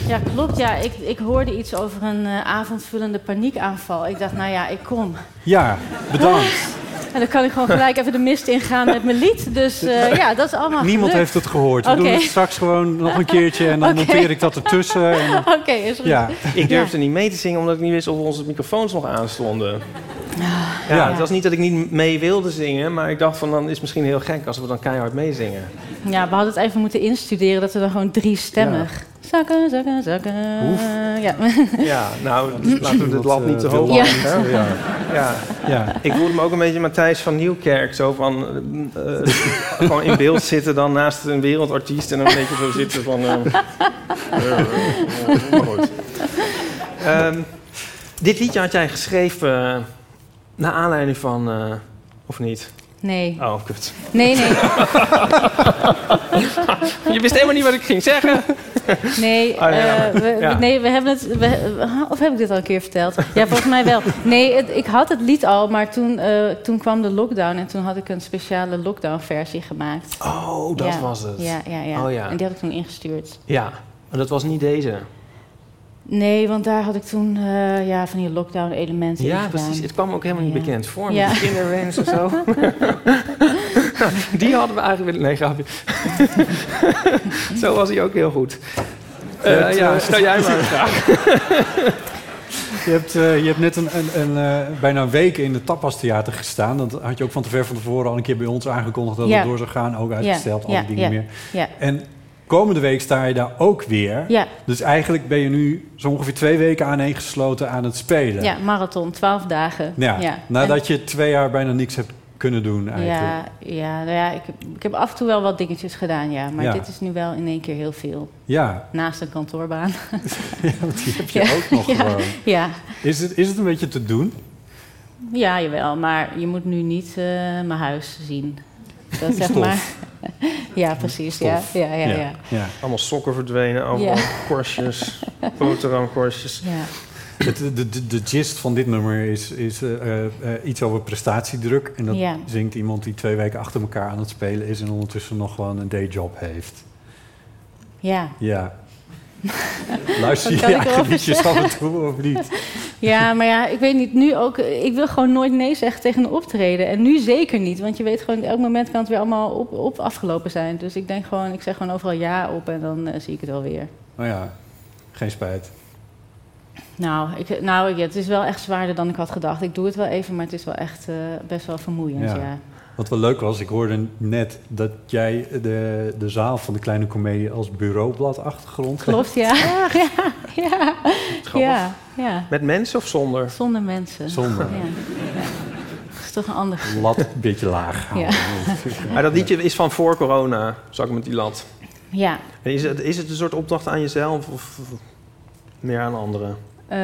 I: Ja, klopt. Ja, ik, ik hoorde iets over een eh, avondvullende paniekaanval. Ik dacht, nou ja, ik kom.
B: Ja,
I: Ah,
B: bedankt.
I: En dan kan ik gewoon gelijk even de mist ingaan met mijn lied. Dus eh, ja, dat is allemaal
B: Niemand
I: gelukt.
B: heeft het gehoord. We
I: Oké.
B: doen het straks gewoon nog een keertje en dan
I: Oké.
B: monteer ik dat ertussen. En...
I: Oké, is goed.
B: Ja.
K: Ik durfde niet mee te zingen omdat ik niet wist of onze microfoons nog aanstonden. Ja,
I: Ja.
K: Het was niet dat ik niet mee wilde zingen, maar ik dacht van dan is het misschien heel gek als we dan keihard meezingen.
I: Ja, we hadden het even moeten instuderen dat we dan gewoon drie stemmig
K: Ja.
I: Zakken, zakken, zakken.
K: Oef.
I: Ja.
K: Ja, nou, laten we het lat niet te
B: te
K: hoog
B: lang,
K: leggen.
B: hè?
K: Ja.
B: Ja.
K: Ja.
B: Ja.
K: Ik voelde me ook een beetje Matthijs van Nieuwkerk. Zo van, eh, eh, gewoon in beeld zitten dan naast een wereldartiest... en een beetje zo zitten van... eh, eh, eh, maar goed. Ehm, dit liedje had jij geschreven eh, naar aanleiding van... eh, of niet?
I: Nee.
K: Oh, kut.
I: Nee, nee.
K: Je wist helemaal niet wat ik ging zeggen.
I: Nee,
K: Oh, ja.
I: eh, we,
K: Ja.
I: nee, we hebben het. we- of heb ik dit al een keer verteld? Ja, volgens mij wel. Nee, het- ik had het lied al, maar toen, eh, toen kwam de lockdown en toen had ik een speciale lockdown-versie gemaakt.
K: Oh, dat was het.
I: Ja, ja, ja.
K: Oh, ja.
I: En die had ik toen ingestuurd.
K: Ja, maar dat was niet deze.
I: Nee, want daar had ik toen eh, ja, van die lockdown-elementen in
K: Ja,
I: gedaan.
K: precies. Het kwam ook helemaal niet
I: Ja.
K: bekend voor.
I: Ja.
K: Met kinderwens of zo. die hadden we eigenlijk willen... Nee, grapje. zo was hij ook heel goed. Eh,
B: Het,
K: ja,
B: eh,
K: stel jij maar een vraag.
B: Je hebt, eh, je hebt net een, een, een, eh, bijna een week in het Tapas Theater gestaan. Dat had je ook van te ver van tevoren al een keer bij ons aangekondigd dat
I: Ja.
B: het door zou gaan. Ook uitgesteld,
I: Ja,
B: al
I: ja,
B: die dingen
I: ja,
B: meer.
I: ja.
B: En komende week sta je daar ook weer.
I: Ja.
B: Dus eigenlijk ben je nu zo ongeveer twee weken aaneengesloten aan het spelen.
I: Ja, marathon, twaalf dagen.
B: Ja, Nadat Ah, je twee jaar bijna niks hebt kunnen doen
I: En-
B: eigenlijk.
I: ja, ja, nou ja ik, heb, ik heb af en toe wel wat dingetjes gedaan, ja. Maar
B: Ja.
I: dit is nu wel in één keer heel veel.
B: Ja.
I: Naast een kantoorbaan.
B: Ja, want die heb je ook nog
I: ja,
B: gewoon.
I: Ja,
B: Is, het, is het een beetje te doen?
I: ja, jawel. Maar je moet nu niet eh, mijn huis zien. Dat zeg
K: Stof.
I: maar. ja, precies. Ja,
K: Stof.
I: ja, ja, ja.
K: Allemaal sokken verdwenen, allemaal
I: Ja.
K: korstjes, boterhamkorstjes.
I: Ja.
B: Het, de, de, de gist van dit nummer is, is eh, eh, eh, iets over prestatiedruk. En dat
I: Ja.
B: zingt iemand die twee weken achter elkaar aan het spelen is... en ondertussen nog gewoon een dayjob heeft.
I: Ja.
B: Ja. Luister je
I: Wat kan
B: je
I: ik
B: eigen
I: erover
B: liedjes af
I: zeggen?
B: en toe of niet?
I: Ja, maar ja, ik weet niet, nu ook... eh, Ik wil gewoon nooit nee zeggen tegen een optreden. En nu zeker niet, want je weet gewoon... Elk moment kan het weer allemaal op, op afgelopen zijn. Dus ik denk gewoon... Ik zeg gewoon overal ja op en dan eh, zie ik het wel weer.
B: Nou ja, geen spijt.
I: Nou, ik, nou ja, het is wel echt zwaarder dan ik had gedacht. Ik doe het wel even, maar het is wel echt eh, best wel vermoeiend,
B: Ja.
I: ja.
B: Wat wel leuk was, ik hoorde net dat jij de, de zaal van de Kleine Comedie... als bureaublad achtergrond
I: Klopt, ja. Ja, ja, ja. ja,
K: Met mensen of zonder?
I: Zonder mensen.
B: Zonder.
I: Ja. Ja. Dat is toch een ander gevoel.
B: Lat een beetje laag.
I: Ja.
K: Maar Ah, dat liedje is van voor corona, zak met die lat.
I: Ja,
K: En Is het, is het een soort opdracht aan jezelf of of meer aan anderen?
I: eh,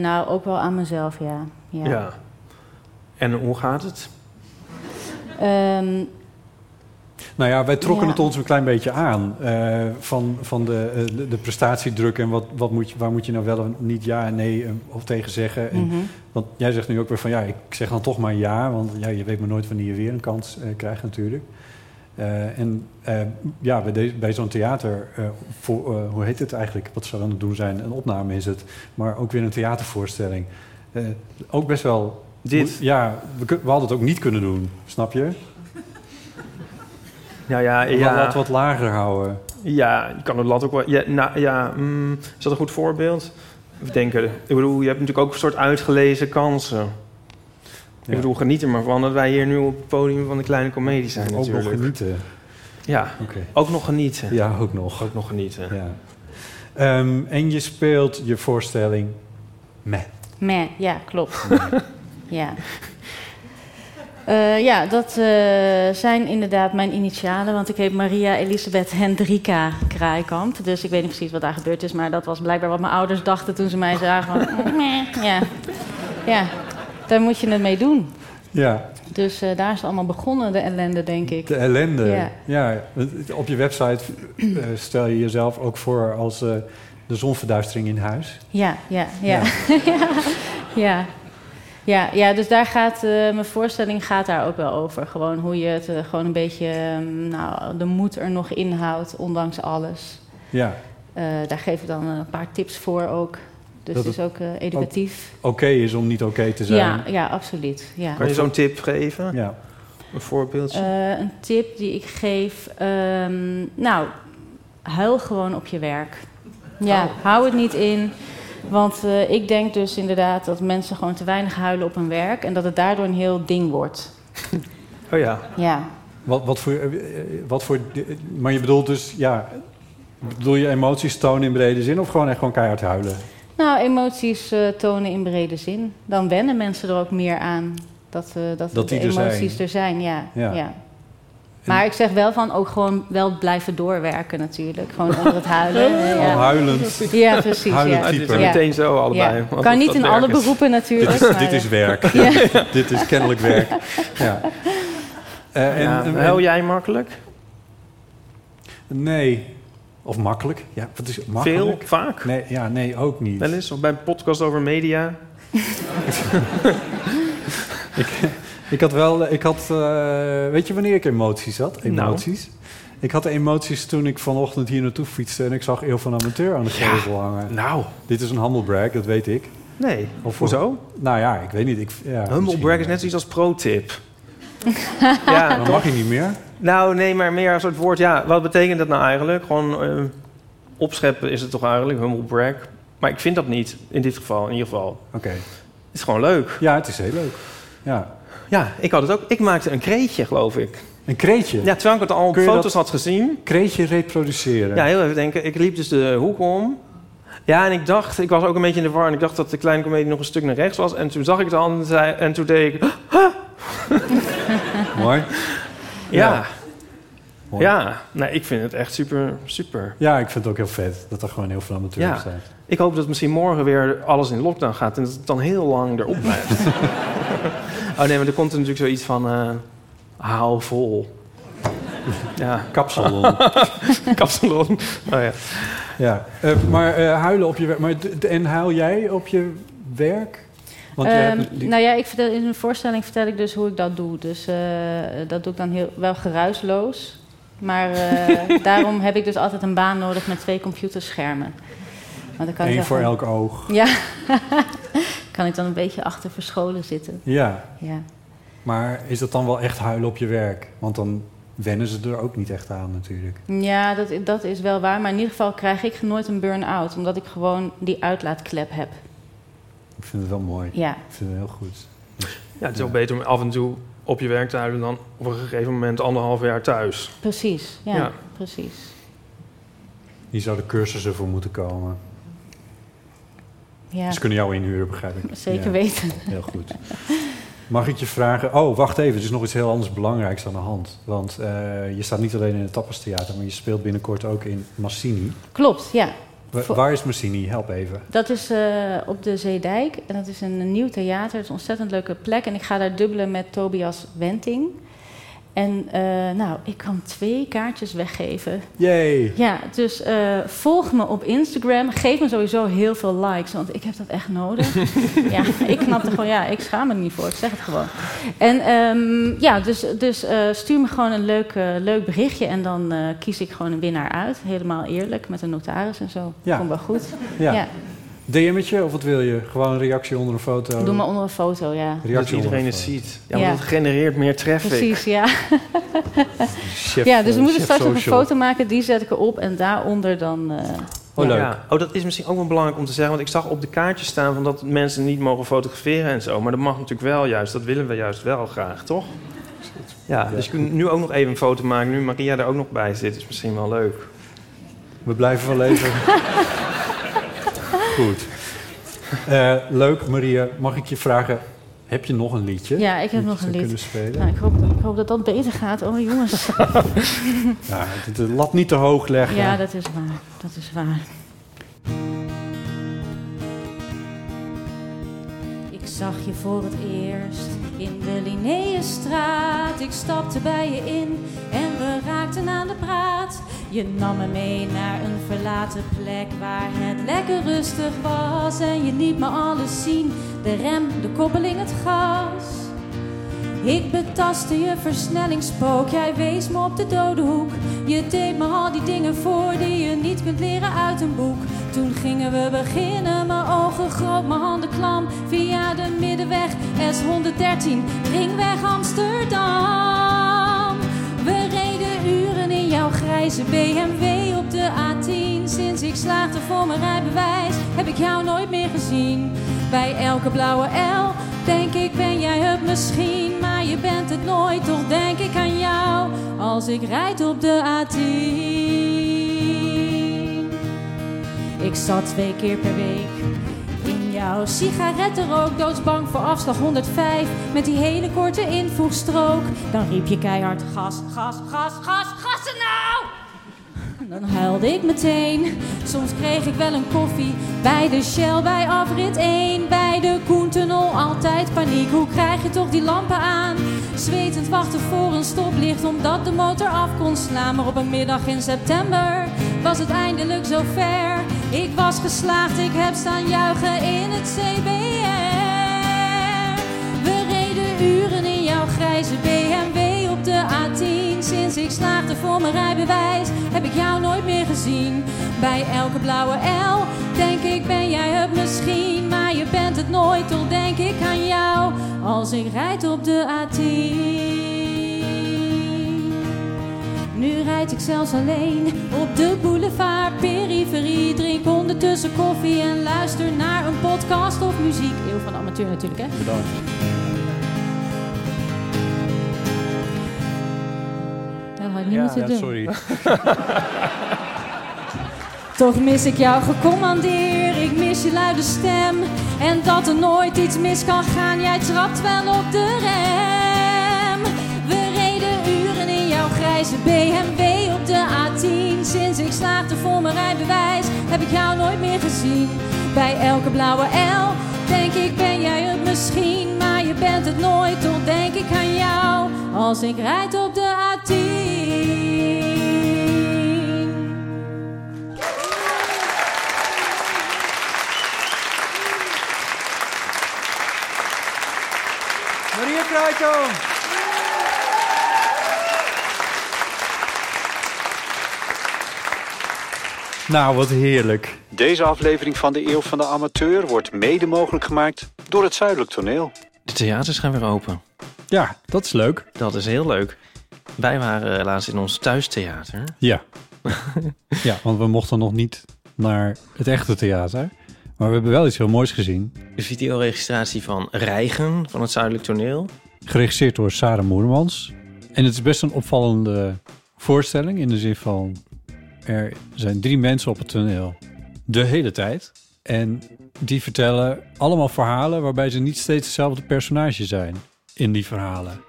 I: nou ook wel aan mezelf, ja. ja.
K: En hoe gaat het?
I: Ehm,
B: Nou ja, wij trokken
I: Ja.
B: het ons een klein beetje aan eh, van, van de, eh, de, de prestatiedruk en wat, wat moet je, waar moet je nou wel en niet ja en nee eh, of tegen zeggen. En,
I: Mhm.
B: Want jij zegt nu ook weer van ja, ik zeg dan toch maar ja, want ja, je weet maar nooit wanneer je weer een kans eh, krijgt natuurlijk. Eh, en eh, ja, bij, deze- bij zo'n theater, eh, voor, eh, hoe heet het eigenlijk? Wat zou aan het doen zijn? Een opname is het, maar ook weer een theatervoorstelling. Eh, ook best wel.
K: Dit?
B: Ja, we, kun- we hadden het ook niet kunnen doen, snap je?
K: Ja, ja,
B: Laat-
K: ja.
B: laat wat lager houden.
K: Ja, je kan de lat ook wel... Ja, nou, ja, mm, is dat een goed voorbeeld? Even denken. Ik bedoel, je hebt natuurlijk ook een soort uitgelezen kansen. Ik bedoel, geniet er maar van dat wij hier nu op het podium van de kleine komedie zijn
B: Ook nog
K: natuurlijk.
B: genieten.
K: Ja,
B: Oké.
K: ook nog genieten.
B: Ja, ook nog.
K: Ook nog genieten.
B: Ja. Ehm, en je speelt je voorstelling meh.
I: Meh, ja, klopt. ja. Eh, ja, dat eh, zijn inderdaad mijn initialen. Want ik heet Maria Elisabeth Hendrika Kraaikamp. Dus ik weet niet precies wat daar gebeurd is. Maar dat was blijkbaar wat mijn ouders dachten toen ze mij zagen. mm, Van, meh, ja. ja, daar moet je het mee doen.
B: Ja,
I: Dus eh, daar is het allemaal begonnen, de ellende, denk ik.
B: de ellende.
I: Ja.
B: Ja. want Op je website eh, stel je jezelf ook voor als eh, de zonverduistering in huis.
I: Ja, ja, ja. Ja, ja. ja, ja dus daar gaat eh, mijn voorstelling gaat daar ook wel over. Gewoon hoe je het eh, gewoon een beetje ehm, nou, de moed er nog in houdt, ondanks alles.
B: Ja.
I: Eh, daar geef ik dan een paar tips voor ook. Dus
B: Dat
I: het is
B: het
I: ook eh, educatief.
B: Oké is om niet oké te zijn.
I: ja, ja, absoluut. Ja.
K: Kan je zo'n tip geven?
B: Ja.
K: Een voorbeeldje?
I: Eh, een tip die ik geef. ehm, nou, huil gewoon op je werk. Ja, hou het niet in. Want eh, ik denk dus inderdaad dat mensen gewoon te weinig huilen op hun werk. En dat het daardoor een heel ding wordt.
K: oh ja.
I: Ja.
B: Wat, wat voor, eh, eh, wat voor, eh, maar je bedoelt dus, ja, Bedoel je emoties tonen in brede zin of gewoon echt gewoon keihard huilen?
M: Nou, emoties eh, tonen in brede zin. Dan wennen mensen er ook meer aan dat, eh, dat,
B: Dat
M: de
B: die er zijn.
M: emoties er zijn. Ja,
B: Ja.
M: ja. Maar ik zeg wel van ook gewoon wel blijven doorwerken natuurlijk. Gewoon onder het huilen. hè, ja.
K: Al huilend.
M: Ja, precies.
K: Huilend
M: ja.
K: type.
M: Ja.
K: Meteen zo allebei,
M: Ja.
K: want
M: Kan
K: of
M: niet
K: dat
M: in
K: werk
M: alle
K: is.
M: beroepen natuurlijk.
B: Dit is,
M: maar,
B: dit is
M: eh,
B: werk.
M: ja.
B: dit is kennelijk werk. Ja. Eh, en-
K: Ja,
B: en-
K: huil jij makkelijk?
B: Nee. Of makkelijk? Ja, wat is
K: Veel?
B: makkelijk?
K: Vaak?
B: Nee, ja, nee, ook niet.
K: Wel eens? Of bij een podcast over media?
B: ik, ik had wel, ik had, eh, weet je wanneer ik emoties had?
K: Nou.
B: Emoties. Ik had emoties toen ik vanochtend hier naartoe fietste en ik zag Eeuw van Amateur aan de gevel hangen.
K: Nou.
B: Dit is een humble brag, dat weet ik.
K: Nee,
B: Of
K: hoezo?
B: Nou ja, ik weet niet. Ik, ja,
K: Humble
B: misschien.
K: brag is net zoiets als pro-tip. ja,
B: Dan mag je niet meer.
K: Nou, nee, maar meer een soort woord. Ja, wat betekent dat nou eigenlijk? Gewoon eh, opscheppen is het toch eigenlijk, humble brag. Maar ik vind dat niet, in dit geval, in ieder geval.
B: Oké.
K: Het is gewoon leuk.
B: Ja, het is heel leuk. Ja.
K: Ja, ik had het ook. Ik maakte een kreetje, geloof ik.
B: Een kreetje?
K: Ja, terwijl ik het al op
B: Kun je
K: foto's
B: dat
K: had gezien.
B: Kreetje reproduceren.
K: Ja, heel even denken. Ik liep dus de hoek om. Ja, en ik dacht, ik was ook een beetje in de war. En ik dacht dat de kleine komedie nog een stuk naar rechts was. En toen zag ik het al en, zei, en toen deed ik...
B: Mooi.
K: Ja. Ja,
B: Mooi.
K: nee, ik vind het echt super, super.
B: Ja, ik vind het ook heel vet dat er gewoon heel veel amateurs
K: Ja.
B: zijn.
K: Ik hoop dat misschien morgen weer alles in lockdown gaat en dat het dan heel lang erop blijft. oh nee, maar er komt er natuurlijk zoiets van eh, hou vol. ja.
B: Kapsalon.
K: Kapsalon. Oh ja.
B: Ja, eh, maar eh, huilen op je werk. Maar d- d- en huil jij op je werk? jij
M: Ehm,
B: hebt die-
M: Nou ja, ik vertel, in een voorstelling vertel ik dus hoe ik dat doe. Dus eh, dat doe ik dan heel, wel geruisloos. Maar eh, daarom heb ik dus altijd een baan nodig met twee computerschermen. Want dan kan ik
B: Eén
M: wel
B: voor
M: gewoon-
B: elk oog.
M: Ja. kan ik dan een beetje achter verscholen zitten.
B: Ja,
M: Ja.
B: maar is dat dan wel echt huilen op je werk? Want dan wennen ze er ook niet echt aan natuurlijk.
M: Ja, dat, dat is wel waar. Maar in ieder geval krijg ik nooit een burn-out. Omdat ik gewoon die uitlaatklep heb.
B: Ik vind het wel mooi.
M: Ja.
B: Ik vind het heel goed.
K: ja, het is ook beter om af en toe op je werk te houden dan op een gegeven moment anderhalf jaar thuis.
M: Precies, ja.
K: Ja.
M: Precies.
B: Hier zouden cursussen voor moeten komen.
M: Ja.
B: Ze kunnen jou inhuren, begrijp ik.
M: Zeker
B: Dus- Ja.
M: weten.
B: Heel goed. Mag ik je vragen? Oh, wacht even. Er is nog iets heel anders belangrijks aan de hand. Want eh, je staat niet alleen in het Tapastheater, maar je speelt binnenkort ook in Massini.
M: Klopt, ja.
B: Wa-
M: Voor-
B: Waar is Massini? Help even.
M: Dat is eh, op de Zeedijk. En dat is een nieuw theater. Het is een ontzettend leuke plek. En ik ga daar dubbelen met Tobias Wenting. En eh, nou, ik kan twee kaartjes weggeven.
B: Jee.
M: Ja, dus eh, volg me op Instagram. Geef me sowieso heel veel likes, want ik heb dat echt nodig. ja, ik knap er gewoon, ja, ik schaam me er niet voor. Ik zeg het gewoon. En ehm, ja, dus, dus eh, stuur me gewoon een leuk, eh, leuk berichtje. En dan eh, kies ik gewoon een winnaar uit. Helemaal eerlijk, met een notaris en zo.
B: Ja.
M: Komt wel goed.
B: Ja. DM'tje of wat wil je? Gewoon een reactie onder een foto?
M: Doe maar onder een foto, ja.
K: Dat
B: Reactie
K: iedereen
B: onder
K: het
B: een foto.
K: ziet. Ja, want
M: Ja.
K: dat genereert meer traffic.
M: Precies, ja.
B: Chef,
M: ja, dus we
K: eh,
M: moeten
K: chef
M: straks nog een
K: social.
M: foto maken. Die zet ik erop en daaronder dan... eh,
B: Oh, leuk.
K: Ja. Oh, dat is misschien ook wel belangrijk om te zeggen. Want ik zag op de kaartjes staan van dat mensen niet mogen fotograferen en zo. Maar dat mag natuurlijk wel juist. Dat willen we juist wel graag, toch? Ja, dus je kunt nu ook nog even een foto maken. Nu Maria er ook nog bij zit, is misschien wel leuk.
B: We blijven wel even. goed. Eh, leuk, Maria. Mag ik je vragen, heb je nog een liedje?
M: Ja, ik heb
B: dat je
M: nog een
B: zou
M: lied.
B: kunnen spelen?
M: Nou, ik, hoop, ik hoop dat dat beter gaat. Oh, jongens.
B: Ja, de de lat niet te hoog leggen.
M: ja, dat is waar. Dat is waar.
I: Ik zag je voor het eerst in de Linnaeusstraat. Ik stapte bij je in en we raakten aan de praat. Je nam me mee naar een verlaten plek waar het lekker rustig was. En je liet me alles zien, de rem, de koppeling, het gas. Ik betastte je versnellingspook, jij wees me op de dode hoek. Je deed me al die dingen voor die je niet kunt leren uit een boek. Toen gingen we beginnen, mijn ogen groot, mijn handen klam. Via de middenweg S113, ringweg Amsterdam. We reden uren in jouw grijze BMW op de A10. Sinds ik slaagde voor mijn rijbewijs, heb ik jou nooit meer gezien. Bij elke blauwe L denk ik ben jij het misschien. Maar je bent het nooit, toch denk ik aan jou als ik rijd op de A10. Ik zat twee keer per week in jouw sigarettenrook. Doodsbang voor afslag 105 met die hele korte invoegstrook. Dan riep je keihard gas, gas, gas, gas, gassen nou! Dan huilde ik meteen. Soms kreeg ik wel een koffie bij de Shell, bij afrit 1. Bij de Koentunnel altijd paniek. Hoe krijg je toch die lampen aan? Zwetend wachten voor een stoplicht omdat de motor af kon slaan. Maar op een middag in september was het eindelijk zover. Ik was geslaagd, ik heb staan juichen in het CBR. We reden uren in jouw grijze BMW op de A10. Sinds ik slaagde voor mijn rijbewijs heb ik jou nooit meer gezien. Bij elke blauwe L denk ik ben jij het misschien. Maar je bent het nooit, toch denk ik aan jou als ik rijd op de A10. Nu rijd ik zelfs alleen op de boulevard periferie. Drink ondertussen koffie en luister naar een podcast of muziek. Eeuw van de amateur natuurlijk, hè?
N: Bedankt.
I: Dat had ik niet
B: Ja,
I: moeten
B: Ah, ja,
I: doen.
B: sorry.
I: Toch mis ik jou gecommandeer, ik mis je luide stem. En dat er nooit iets mis kan gaan, jij trapt wel op de rem. We reden uren in jouw grijze BMW op de A10. Sinds ik slaagde voor mijn rijbewijs, heb ik jou nooit meer gezien. Bij elke blauwe L denk ik ben jij het misschien. Maar je bent het nooit, toch denk ik aan jou als ik rijd op de A10.
N: Maria Kruijton.
B: Nou, wat heerlijk.
O: Deze aflevering van de Eeuw van de Amateur wordt mede mogelijk gemaakt door het Zuidelijk Toneel.
C: De theaters gaan weer open.
B: Ja, dat is leuk.
C: Dat is heel leuk. Wij waren eh, laatst in ons thuistheater.
B: Ja. ja, want we mochten nog niet naar het echte theater. Maar we hebben wel iets heel moois gezien.
C: De videoregistratie van Reigen van het Zuidelijk Toneel.
B: Geregisseerd door Sarah Moermans. En het is best een opvallende voorstelling. In de zin van, er zijn drie mensen op het toneel. De hele tijd. En die vertellen allemaal verhalen waarbij ze niet steeds hetzelfde personage zijn. In die verhalen.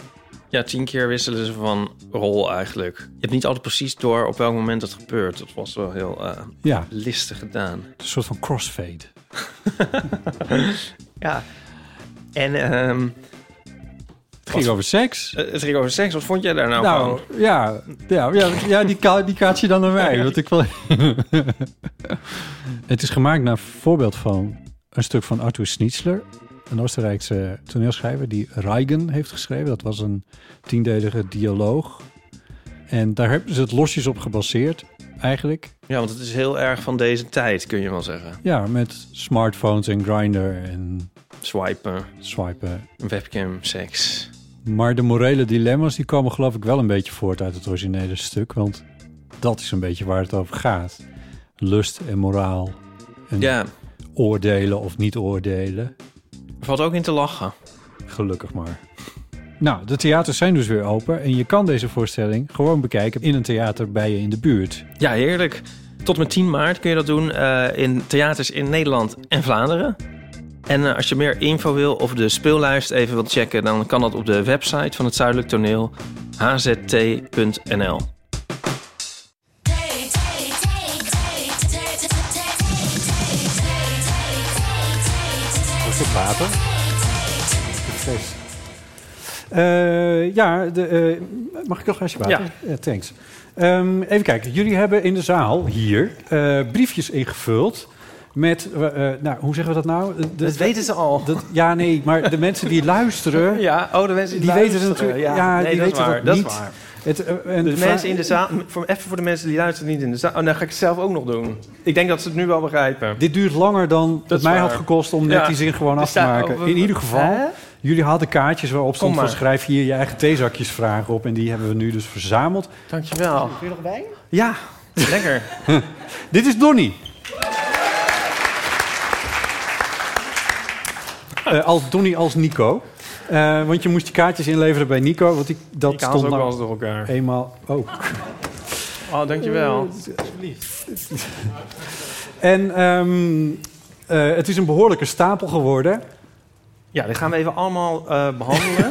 C: Ja, tien keer wisselen ze van rol eigenlijk. Je hebt niet altijd precies door op welk moment het gebeurt. Dat was wel heel eh,
B: Ja.
C: listig gedaan.
B: Een soort van crossfade.
C: ja. En ehm,
B: Het ging over seks.
C: eh, het ging over seks. Wat vond jij daar nou,
B: Nou,
C: van?
B: ja, ja, ja, ja die, ka die kaart je dan naar mij. Want ik wil... het is gemaakt naar voorbeeld van een stuk van Arthur Schnitzler. Een Oostenrijkse toneelschrijver die Reigen heeft geschreven. Dat was een tiendelige dialoog. En daar hebben ze het losjes op gebaseerd, eigenlijk.
C: Ja, want het is heel erg van deze tijd, kun je wel zeggen.
B: Ja, met smartphones en grinder en
C: Swipen,
B: swipen.
C: webcam, seks.
B: Maar de morele dilemma's die komen geloof ik wel een beetje voort uit het originele stuk. Want dat is een beetje waar het over gaat. Lust en moraal. En
C: Ja.
B: oordelen of niet oordelen.
C: Valt ook in te lachen.
B: Gelukkig maar. Nou, de theaters zijn dus weer open. En je kan deze voorstelling gewoon bekijken in een theater bij je in de buurt.
C: Ja, heerlijk. Tot en met 10 maart kun je dat doen eh, in theaters in Nederland en Vlaanderen. En eh, als je meer info wil of de speellijst even wilt checken, dan kan dat op de website van het Zuidelijk Toneel hzt.nl.
B: Is het water? Eh, ja, de, eh, mag ik nog een glaasje water? Ja. thanks. Ehm, even kijken. Jullie hebben in de zaal hier eh, briefjes ingevuld met... eh, eh, nou, hoe zeggen we dat nou? De-
K: Dat weten ze al.
B: Dat, ja, nee, maar de mensen die luisteren...
K: Ja, oh, de mensen die,
B: die weten het
K: luisteren.
B: natuurlijk...
K: Ja,
B: Ja,
K: nee,
B: die
K: dat is
B: weten
K: waar,
B: dat
K: dat is
B: niet.
K: waar.
B: Het, eh, en
K: de
B: de vraag-
K: mensen in de zaal, voor, even voor de mensen die luisteren niet in de zaal. Oh, dan ga ik het zelf ook nog doen. Ik denk dat ze het nu wel begrijpen.
B: Dit duurt langer dan
K: Dat
B: het
K: is
B: mij
K: waar.
B: had gekost om net
K: Ja.
B: die zin gewoon
K: Er
B: af te
K: staat-
B: maken.
K: oh, we-
B: In ieder geval,
K: Hè?
B: jullie hadden kaartjes waarop stond
K: Kom
B: van
K: maar.
B: schrijf hier je eigen theezakjesvragen op. En die hebben we nu dus verzameld.
K: Dankjewel.
N: Wil je nog bij?
B: Ja.
C: Lekker.
B: Dit is Donnie. Eh, als Donnie als Nico. Eh, want je moest die kaartjes inleveren bij Nico. Want die, dat
K: Ik haal ze
B: stond
K: ook
B: nou
K: wel eens door elkaar.
B: Eenmaal. Oh.
C: Mm.
K: Oh, dankjewel.
B: Eh, En ehm, eh, het is een behoorlijke stapel geworden.
K: Ja, die gaan we even allemaal eh, behandelen.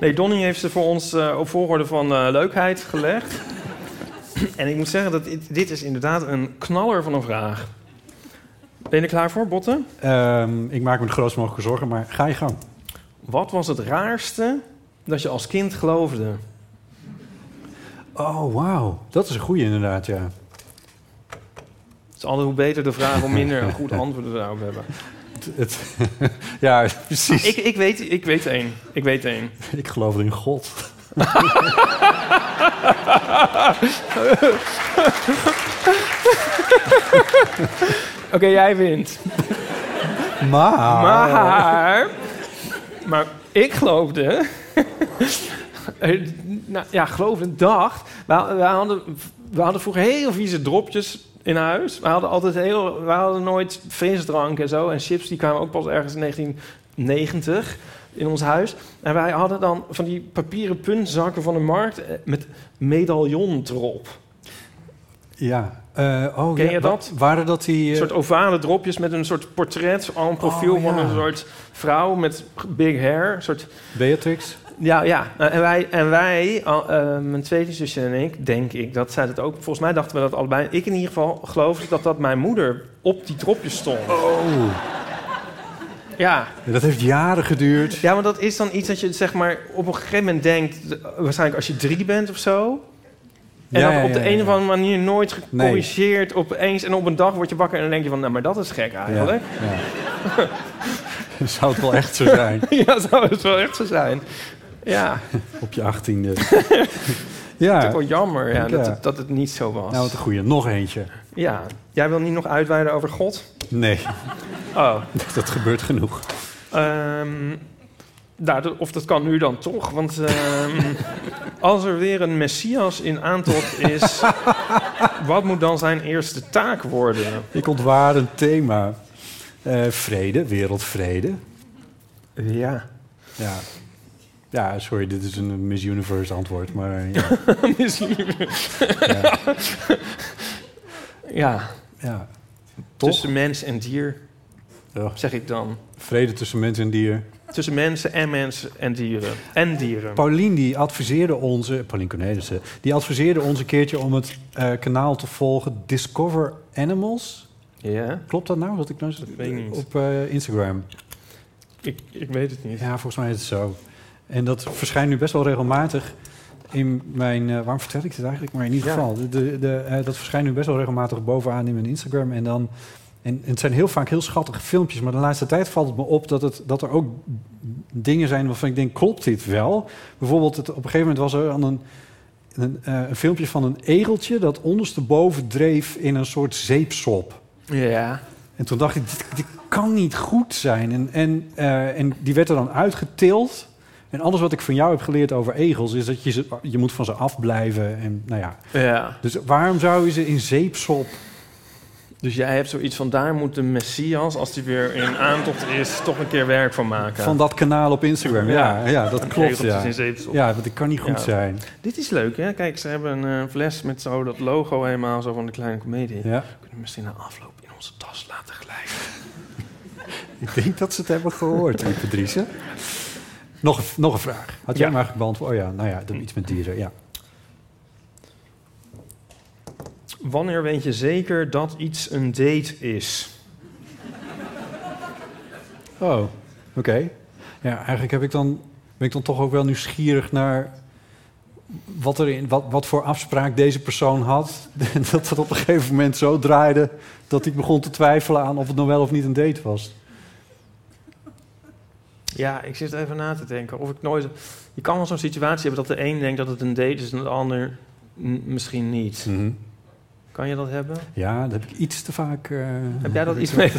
K: nee, Donnie heeft ze voor ons eh, op volgorde van eh, leukheid gelegd. en ik moet zeggen dat dit, dit is inderdaad een knaller van een vraag. Ben je er klaar voor, Botten?
B: Ehm, ik maak me de grootst mogelijke zorgen, maar ga je gang.
K: Wat was het raarste dat je als kind geloofde?
B: Oh, wauw. Dat is een goeie inderdaad, ja.
K: Het is altijd hoe beter de vraag, hoe minder een goed antwoord we daarop hebben.
B: Het- het- ja, precies.
K: Ik, ik, weet, ik weet één. Ik weet één.
B: Ik geloof in God.
K: Oké, jij wint.
B: Maar...
K: Maar, maar ik geloofde. eh, nou, ja, geloofde, dacht. We, we, hadden, we hadden vroeger heel vieze dropjes in huis. We hadden altijd heel. We hadden nooit frisdrank en zo. En chips die kwamen ook pas ergens in 1990 in ons huis. En wij hadden dan van die papieren puntzakken van de markt eh, met medaillon erop.
B: Ja. Eh, oh,
K: Ken
B: ja,
K: je
B: wa-
K: dat?
B: Waren dat die...
K: Een
B: eh,
K: soort ovale dropjes met een soort portret, al een profiel
B: Oh, ja.
K: van een soort vrouw met big hair. Een soort...
B: Beatrix?
K: Ja, ja. Eh, En wij, en wij al- eh, mijn tweede zusje en ik, denk ik, dat zij dat ook. Volgens mij dachten we dat allebei. Ik in ieder geval geloofde dat dat mijn moeder op die dropjes stond.
B: Oh.
K: Ja.
B: Ja, dat heeft jaren geduurd.
K: Ja, maar dat is dan iets dat je zeg maar op een gegeven moment denkt, eh, waarschijnlijk als je drie bent of zo. En
B: Ja,
K: dan
B: ja,
K: op de
B: ja,
K: een
B: ja.
K: of andere manier nooit
B: Nee.
K: gecorrigeerd opeens. En op een dag word je wakker en dan denk je van, nou, maar dat is gek eigenlijk.
B: Zou het wel echt zo zijn?
K: ja, zou het wel echt zo zijn. Ja,
B: Op je achttiende.
K: het is
B: ja.
K: ook wel jammer ja,
B: Ik,
K: dat,
B: ja.
K: het, dat het niet zo was.
B: Nou, wat een goeie. Nog eentje.
K: Ja, jij wil niet nog uitweiden over God?
B: Nee.
K: Oh.
B: Dat gebeurt genoeg.
K: Ehm, nou, dat- of dat kan nu dan toch, want ehm, als er weer een Messias in aantocht is, wat moet dan zijn eerste taak worden?
B: Ik ontwaar een thema. Eh, vrede, wereldvrede.
K: Ja.
B: Ja. Ja, sorry, dit is een Miss Universe antwoord, maar eh, ja.
K: Misschien.
B: Ja.
K: ja.
B: Ja. Toch?
K: Tussen mens en dier,
B: Ja.
K: zeg ik dan.
B: vrede tussen mens en dier.
K: Tussen mensen en mensen en dieren. En dieren.
B: Paulien die adviseerde ons, eh, Paulien Cornelissen, die adviseerde ons een keertje om het eh, kanaal te volgen Discover Animals.
K: Ja.
B: Klopt dat nou? Wat ik nou
K: Weet ik niet.
B: op eh, Instagram.
K: Ik, ik weet het niet.
B: Ja, volgens mij is het zo. En dat verschijnt nu best wel regelmatig in mijn... eh, waarom vertel ik dit eigenlijk? Maar in ieder
K: Ja.
B: geval, de, de, de, eh, dat verschijnt nu best wel regelmatig bovenaan in mijn Instagram. En dan... En, en het zijn heel vaak heel schattige filmpjes, maar de laatste tijd valt het me op dat, het, dat er ook dingen zijn waarvan ik denk, klopt dit wel? Bijvoorbeeld, het, op een gegeven moment was er aan een, een, eh, een filmpje van een egeltje dat ondersteboven dreef in een soort zeepsop.
K: Ja.
B: En toen dacht ik, dit, dit kan niet goed zijn. En, en, eh, en die werd er dan uitgetild. En alles wat ik van jou heb geleerd over egels... is dat je, ze, je moet van ze afblijven. En, nou ja.
K: Ja.
B: Dus waarom zou je ze in zeepsop...
K: Dus jij hebt zoiets van, daar moet de Messias, als die weer in aantocht is, toch een keer werk van maken.
B: van dat kanaal op Instagram? Ja, ja, dat
K: Een
B: klopt.
K: egeltjes
B: Ja.
K: in zeepsel.
B: ja, want ik kan niet goed
K: Ja.
B: zijn.
K: Dit is leuk, hè? Kijk, ze hebben een eh, fles met zo dat logo helemaal zo van de kleine komedie.
B: Ja.
K: Kunnen we misschien na afloop in onze tas laten glijden.
B: Ik denk dat ze het hebben gehoord, lieve Driessen. Nog, een- nog een vraag. Had jij
K: Ja.
B: hem eigenlijk beantwoord? Oh ja, nou ja, dat iets met dieren. Ja.
K: Wanneer weet je zeker dat iets een date is?
B: Oh, oké. Ja, eigenlijk heb ik dan, ben ik dan toch ook wel nieuwsgierig naar wat, er in, wat, wat voor afspraak deze persoon had. En dat dat op een gegeven moment zo draaide dat ik begon te twijfelen aan of het nou wel of niet een date was.
K: Ja, ik zit even na te denken. Of ik nooit... Je kan wel zo'n situatie hebben dat de een denkt dat het een date is en de ander mm, misschien niet.
B: Mhm.
K: Kan je dat hebben?
B: Ja, dat heb ik iets te vaak. eh,
K: Heb jij dat iets mee?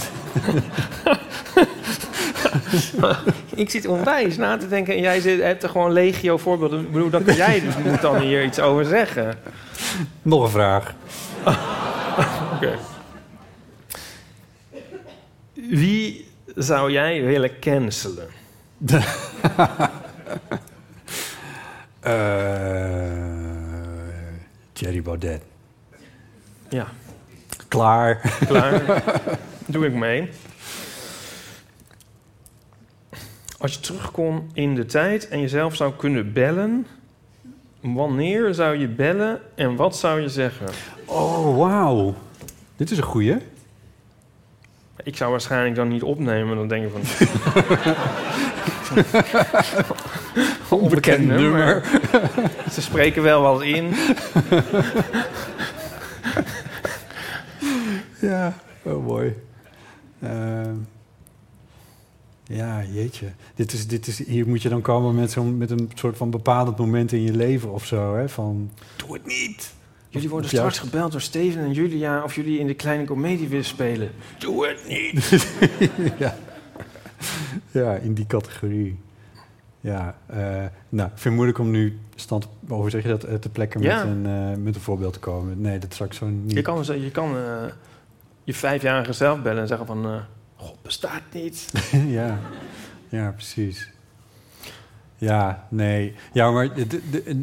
K: ik zit onwijs na te denken en jij zit, hebt er gewoon legio voorbeelden. Ik bedoel, dan kan jij moet dan hier iets over zeggen.
B: Nog een vraag.
K: Oké. Wie zou jij willen cancelen?
B: Eh Thierry Baudet.
K: Ja.
B: Klaar.
K: Klaar. Doe ik mee. Als je terug kon in de tijd en jezelf zou kunnen bellen, wanneer zou je bellen en wat zou je zeggen?
B: Oh, wauw. Dit is een goeie.
K: Ik zou waarschijnlijk dan niet opnemen, dan denk ik van.
B: Onbekend nummer.
K: Ze spreken wel wat in.
B: Ja, oh mooi. Eh, ja, jeetje. Dit is, dit is, hier moet je dan komen met, zo'n met een soort van bepalend moment in je leven of zo. Hè? Van, doe het niet.
K: Jullie worden
B: Of juist-
K: straks gebeld door Steven en Julia of jullie in de kleine komedie willen spelen. Doe het niet!
B: ja. ja, in die categorie. Ja, eh, nou, ik vind het moeilijk om nu stand, hoe zeg je dat, eh, te plekken
K: Ja.
B: met, een, eh, met een voorbeeld te komen. Nee, dat zou ik zo niet...
K: Je kan, je, kan eh, je vijfjarige zelf bellen en zeggen van... eh, God bestaat niet.
B: ja. ja, precies. Ja, nee. Ja, maar de- de- de-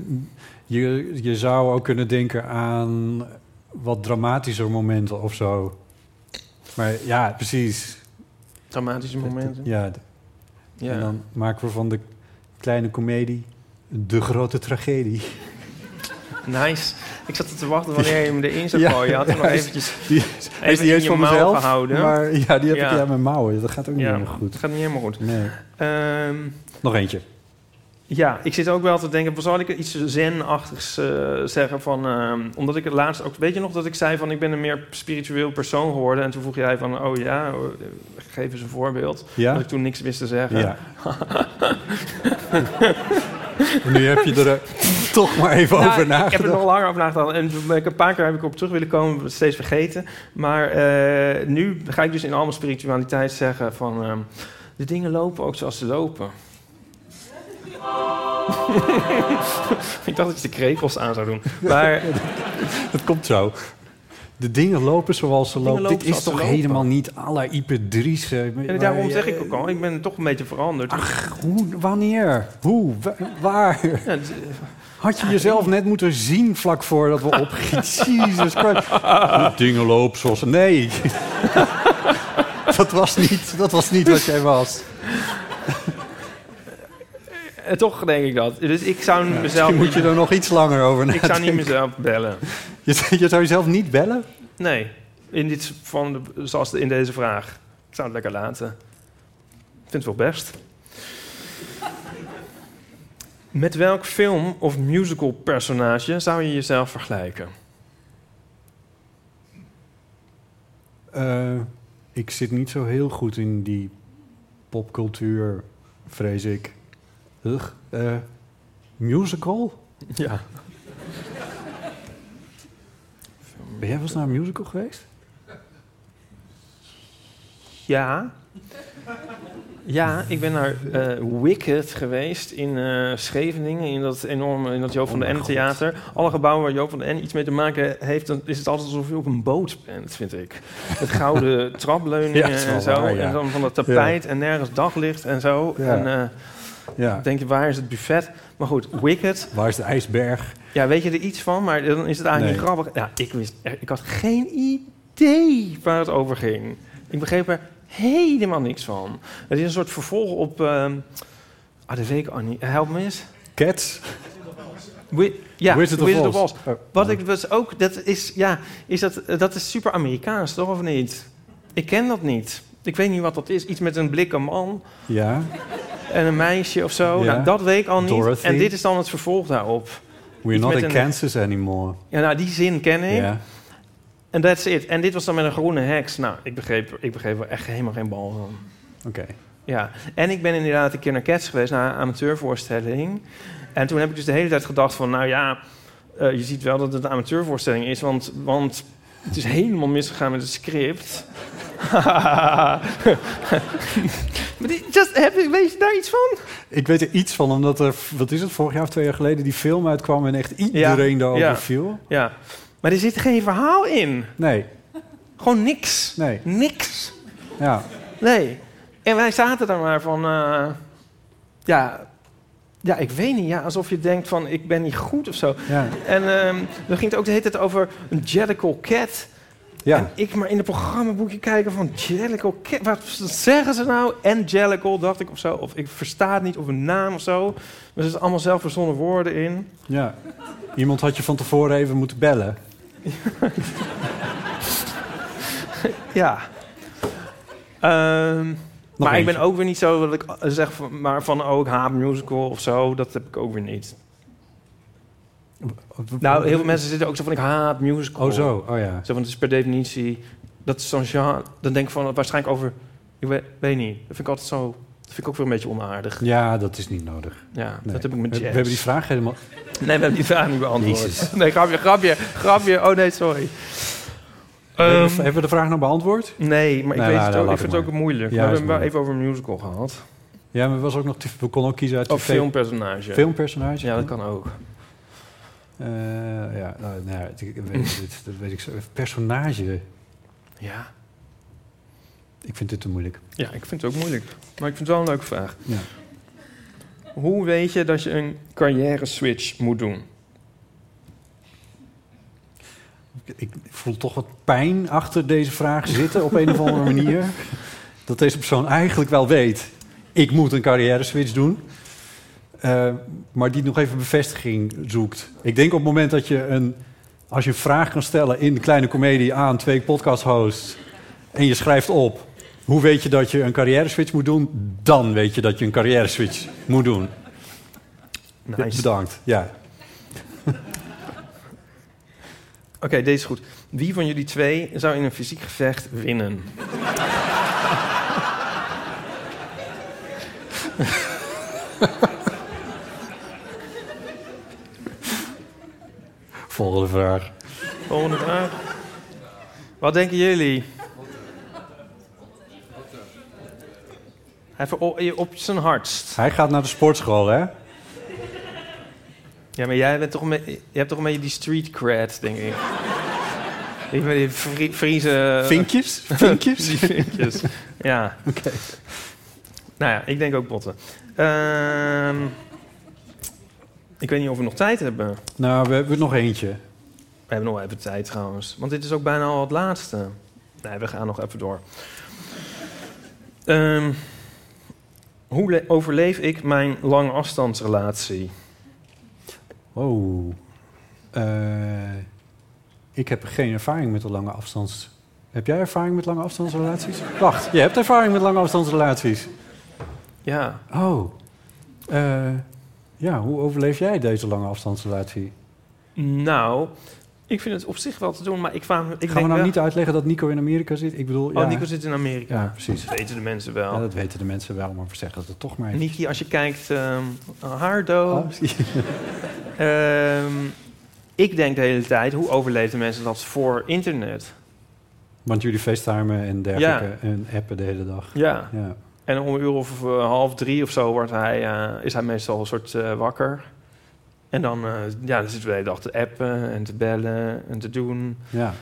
B: je, je zou ook kunnen denken aan wat dramatischer momenten of zo. Maar ja, precies.
K: Dramatische momenten.
B: Ja. d-
K: Ja.
B: En dan maken we van de kleine komedie de grote tragedie.
K: Nice. Ik zat te wachten wanneer je hem erin zou
B: Ja,
K: gooien. Je had hem
B: ja,
K: nog
B: is-
K: eventjes
B: die-
K: even
B: is die
K: in
B: eens
K: je
B: van
K: mouw
B: mezelf,
K: gehouden.
B: maar ja, die heb ik
K: Ja.
B: ja in mijn mouwen. Dat gaat ook niet
K: Ja,
B: helemaal goed.
K: Het gaat niet helemaal goed.
B: Nee.
K: Ehm,
B: Nog eentje.
K: ja, ik zit ook wel te denken, zal ik iets zen-achtigs eh, zeggen van... ehm, omdat ik het laatst ook... Weet je nog dat ik zei van, ik ben een meer spiritueel persoon geworden? En toen vroeg jij van, oh ja, eh, geef eens een voorbeeld.
B: Ja.
K: Dat ik toen niks wist te zeggen.
B: Ja. En nu heb je er eh, toch maar even
K: Nou,
B: over
K: Ik heb er
B: nagedacht.
K: nog langer over nagedacht. En toen ben ik een paar keer heb ik op terug willen komen, steeds vergeten. Maar eh, nu ga ik dus in al mijn spiritualiteit zeggen van... ehm, de dingen lopen ook zoals ze lopen. ik dacht dat je de krepels aan zou doen. Maar
B: Het komt zo. De dingen lopen zoals ze
K: dingen
B: lopen. Dit
K: lopen
B: is
K: zoals
B: toch
K: ze lopen.
B: helemaal niet à la Ipe Dries. eh,
K: en
B: maar-
K: daarom
B: maar-
K: zeg ik ook al, ik ben toch een beetje veranderd.
B: Hoe, wanneer? Hoe? Wa- Waar?
K: Ja, dus, eh, het-
B: Had je jezelf net moeten zien vlak voordat we opgieten? Jesus Christ. De dingen lopen zoals... Nee. dat, was niet, dat was niet wat jij was.
K: eh, toch denk ik dat. Dus ik zou mezelf...
B: Misschien moet je
K: niet-
B: er nog iets langer over
K: Ik
B: nadenken.
K: zou niet mezelf bellen.
B: Je, je zou jezelf niet bellen?
K: Nee, in dit, van de, zoals in deze vraag. Ik zou het lekker laten. Ik vind het wel best. Met welk film of musical personage zou je jezelf vergelijken?
B: Eh, ik zit niet zo heel goed in die popcultuur, vrees ik. Ugh. Eh, musical?
K: Ja.
B: Ben jij wel eens naar een musical geweest?
K: Ja. Ja, ik ben naar eh, Wicked geweest in eh, Scheveningen, in dat enorme, in dat Joop van
P: Oh mijn
K: den N
P: God.
K: theater. Alle gebouwen waar Joop van den N iets mee te maken heeft, dan is het altijd alsof je op een boot bent, vind ik. Met gouden trapleuningen
B: Ja, dat is wel
K: en zo,
B: waar, ja.
K: en dan van dat tapijt en nergens daglicht en zo.
B: Ja.
K: En eh,
B: Ja.
K: dan denk je, waar is het buffet? Maar goed, Wicked.
B: Waar is de ijsberg?
K: Ja, weet je er iets van, maar dan is het eigenlijk
B: Nee.
K: niet grappig. Ja, ik wist, ik had geen idee waar het over ging. Ik begreep er helemaal niks van. Het is een soort vervolg op. ehm ah, de week, Annie. Help me eens.
B: Cats?
K: Wi- ja,
B: Wizard of Oz. Oh.
K: Oz. Wat ik was ook, dat is, ja, is dat, dat is super Amerikaans, toch of niet? Ik ken dat niet. Ik weet niet wat dat is. Iets met een blikken man
B: Ja.
K: en een meisje of zo.
B: Ja.
K: Nou, dat weet ik al niet.
B: Dorothy.
K: En dit is dan het vervolg daarop.
B: We're
K: Iets
B: not
K: met
B: in
K: een-
B: Kansas anymore.
K: Ja, nou, die zin ken ik.
B: Ja.
K: En that's it. En dit was dan met een groene heks. Nou, ik begreep, ik begreep er echt helemaal geen bal van.
B: Oké.
K: Ja, en ik ben inderdaad een keer naar Cats geweest, naar een amateurvoorstelling. En toen heb ik dus de hele tijd gedacht van, nou ja, eh, je ziet wel dat het een amateurvoorstelling is, want, want het is helemaal misgegaan met het script. maar dit, just, heb, je- weet je daar iets van?
B: Ik weet er iets van, omdat er, wat is het, vorig jaar of twee jaar geleden die film uitkwam en echt iedereen daarover
K: ja.
B: viel.
K: Ja, maar er zit geen verhaal in.
B: Nee.
K: Gewoon niks.
B: Nee.
K: Niks.
B: Ja.
K: Nee. En wij zaten daar maar van... eh, ja, ja, ik weet niet. Ja, alsof je denkt van, ik ben niet goed of zo.
B: Ja.
K: En ehm, dan ging het ook de hele tijd over een Jellicle Cat...
B: Ja.
K: En ik maar in het programmaboekje kijken van Jellicle. Ki- Wat zeggen ze nou? En Jellicle, dacht ik of zo. Of ik versta het niet, of een naam of zo. Maar er zitten allemaal zelf verzonnen woorden in.
B: Ja. Iemand had je van tevoren even moeten bellen.
K: Ja. Ehm, maar ik ben
B: eentje.
K: ook weer niet zo dat ik eh, zeg van, maar van oh, ik haat musical of zo. Dat heb ik ook weer niet. Nou, heel veel mensen zitten ook zo van ik haat musical.
B: Oh, zo. Oh, ja.
K: Zo van het is per definitie dat is zo'n genre. Dan denk ik van waarschijnlijk over ik weet, weet niet. Dat vind ik altijd zo. Dat vind ik ook weer een beetje onaardig.
B: Ja, dat is niet nodig.
K: Ja,
B: Nee.
K: dat heb ik met
B: We-
K: jazz.
B: we hebben die vraag helemaal-
K: Nee, we hebben die vraag niet beantwoord.
B: Jezus.
K: Nee, grapje, grapje, grapje. Oh nee, sorry.
B: Hebben
K: Ehm,
B: we- hebben we de vraag nou beantwoord?
K: Nee, maar ik,
B: Nou,
K: weet
B: nou,
K: het
B: nou,
K: ook, ik
B: laat
K: vind
B: maar.
K: het ook moeilijk.
B: Ja,
K: we
B: is
K: hebben het wel
B: moeilijk.
K: even over een musical gehad.
B: Ja, maar was ook nog, we konden ook kiezen uit
K: Of
B: tv.
K: filmpersonage.
B: Filmpersonage.
K: Oh, Ja, dat kan ook.
B: Eh, ja, nou, nou ja, het- ik weet, dit, dat weet ik zo. Personage.
K: Ja.
B: Ik vind dit te moeilijk.
K: Ja, ik vind het ook moeilijk. Maar ik vind het wel een leuke vraag.
B: Ja.
K: Hoe weet je dat je een carrière switch moet doen?
B: Ik voel toch wat pijn achter deze vraag zitten op een of andere manier. Dat deze persoon eigenlijk wel weet, ik moet een carrière switch doen. Eh, maar die nog even bevestiging zoekt. Ik denk op het moment dat je een... Als je een vraag kan stellen in de kleine komedie aan twee podcasthosts... en je schrijft op, hoe weet je dat je een carrière switch moet doen? Dan weet je dat je een carrière switch moet doen.
K: Nice.
B: Bedankt, ja.
K: Oké, deze is goed. Wie van jullie twee zou in een fysiek gevecht winnen?
B: Volgende vraag.
K: Volgende vraag. Wat denken jullie? Hij vero- eh, op zijn hardst.
B: Hij gaat naar de sportschool, hè?
K: Ja, maar jij bent toch een beetje, je hebt toch een beetje die street cred, denk ik. Ik ben die Fri- Friese...
B: Vinkjes? Vinkjes?
K: Eh, die vinkjes, ja. Oké. Nou ja, ik denk ook botten. Ehm, ik weet niet of we nog tijd hebben. We
B: Nou, we hebben nog eentje.
K: hebben nog even tijd trouwens. Want dit is ook bijna al het laatste. Nee, we gaan nog even door. Ehm, hoe le- overleef ik mijn lange afstandsrelatie?
B: Oh. Eh, ik heb geen ervaring met de lange afstands... Heb jij ervaring met lange afstandsrelaties? Wacht, je hebt ervaring met lange afstandsrelaties.
K: Ja.
B: Oh. Eh, ja, hoe overleef jij deze lange afstandsrelatie?
K: Nou, ik vind het op zich wel te doen, maar ik kwam. Ik
B: Gaan
K: denk
B: we nou
K: wel-
B: niet uitleggen dat Nico in Amerika zit? Ik bedoel,
K: Oh,
B: ja.
K: Nico zit in Amerika.
B: Ja, precies.
K: Dat weten de mensen wel.
B: Ja, dat weten de mensen wel, maar we zeggen het toch maar even.
K: Niki, als je kijkt, ehm
B: Oh.
K: haardood. Ehm, ik denk de hele tijd, hoe overleefden mensen dat voor internet?
B: Want jullie facetimen en dergelijke
K: Ja.
B: en appen de hele dag.
K: Ja.
B: ja.
K: En om een uur of eh, half drie of zo wordt hij, eh, is hij meestal een soort eh, wakker. En dan, eh, ja, dan zitten we de hele dag te appen en te bellen en te doen.
B: Ja.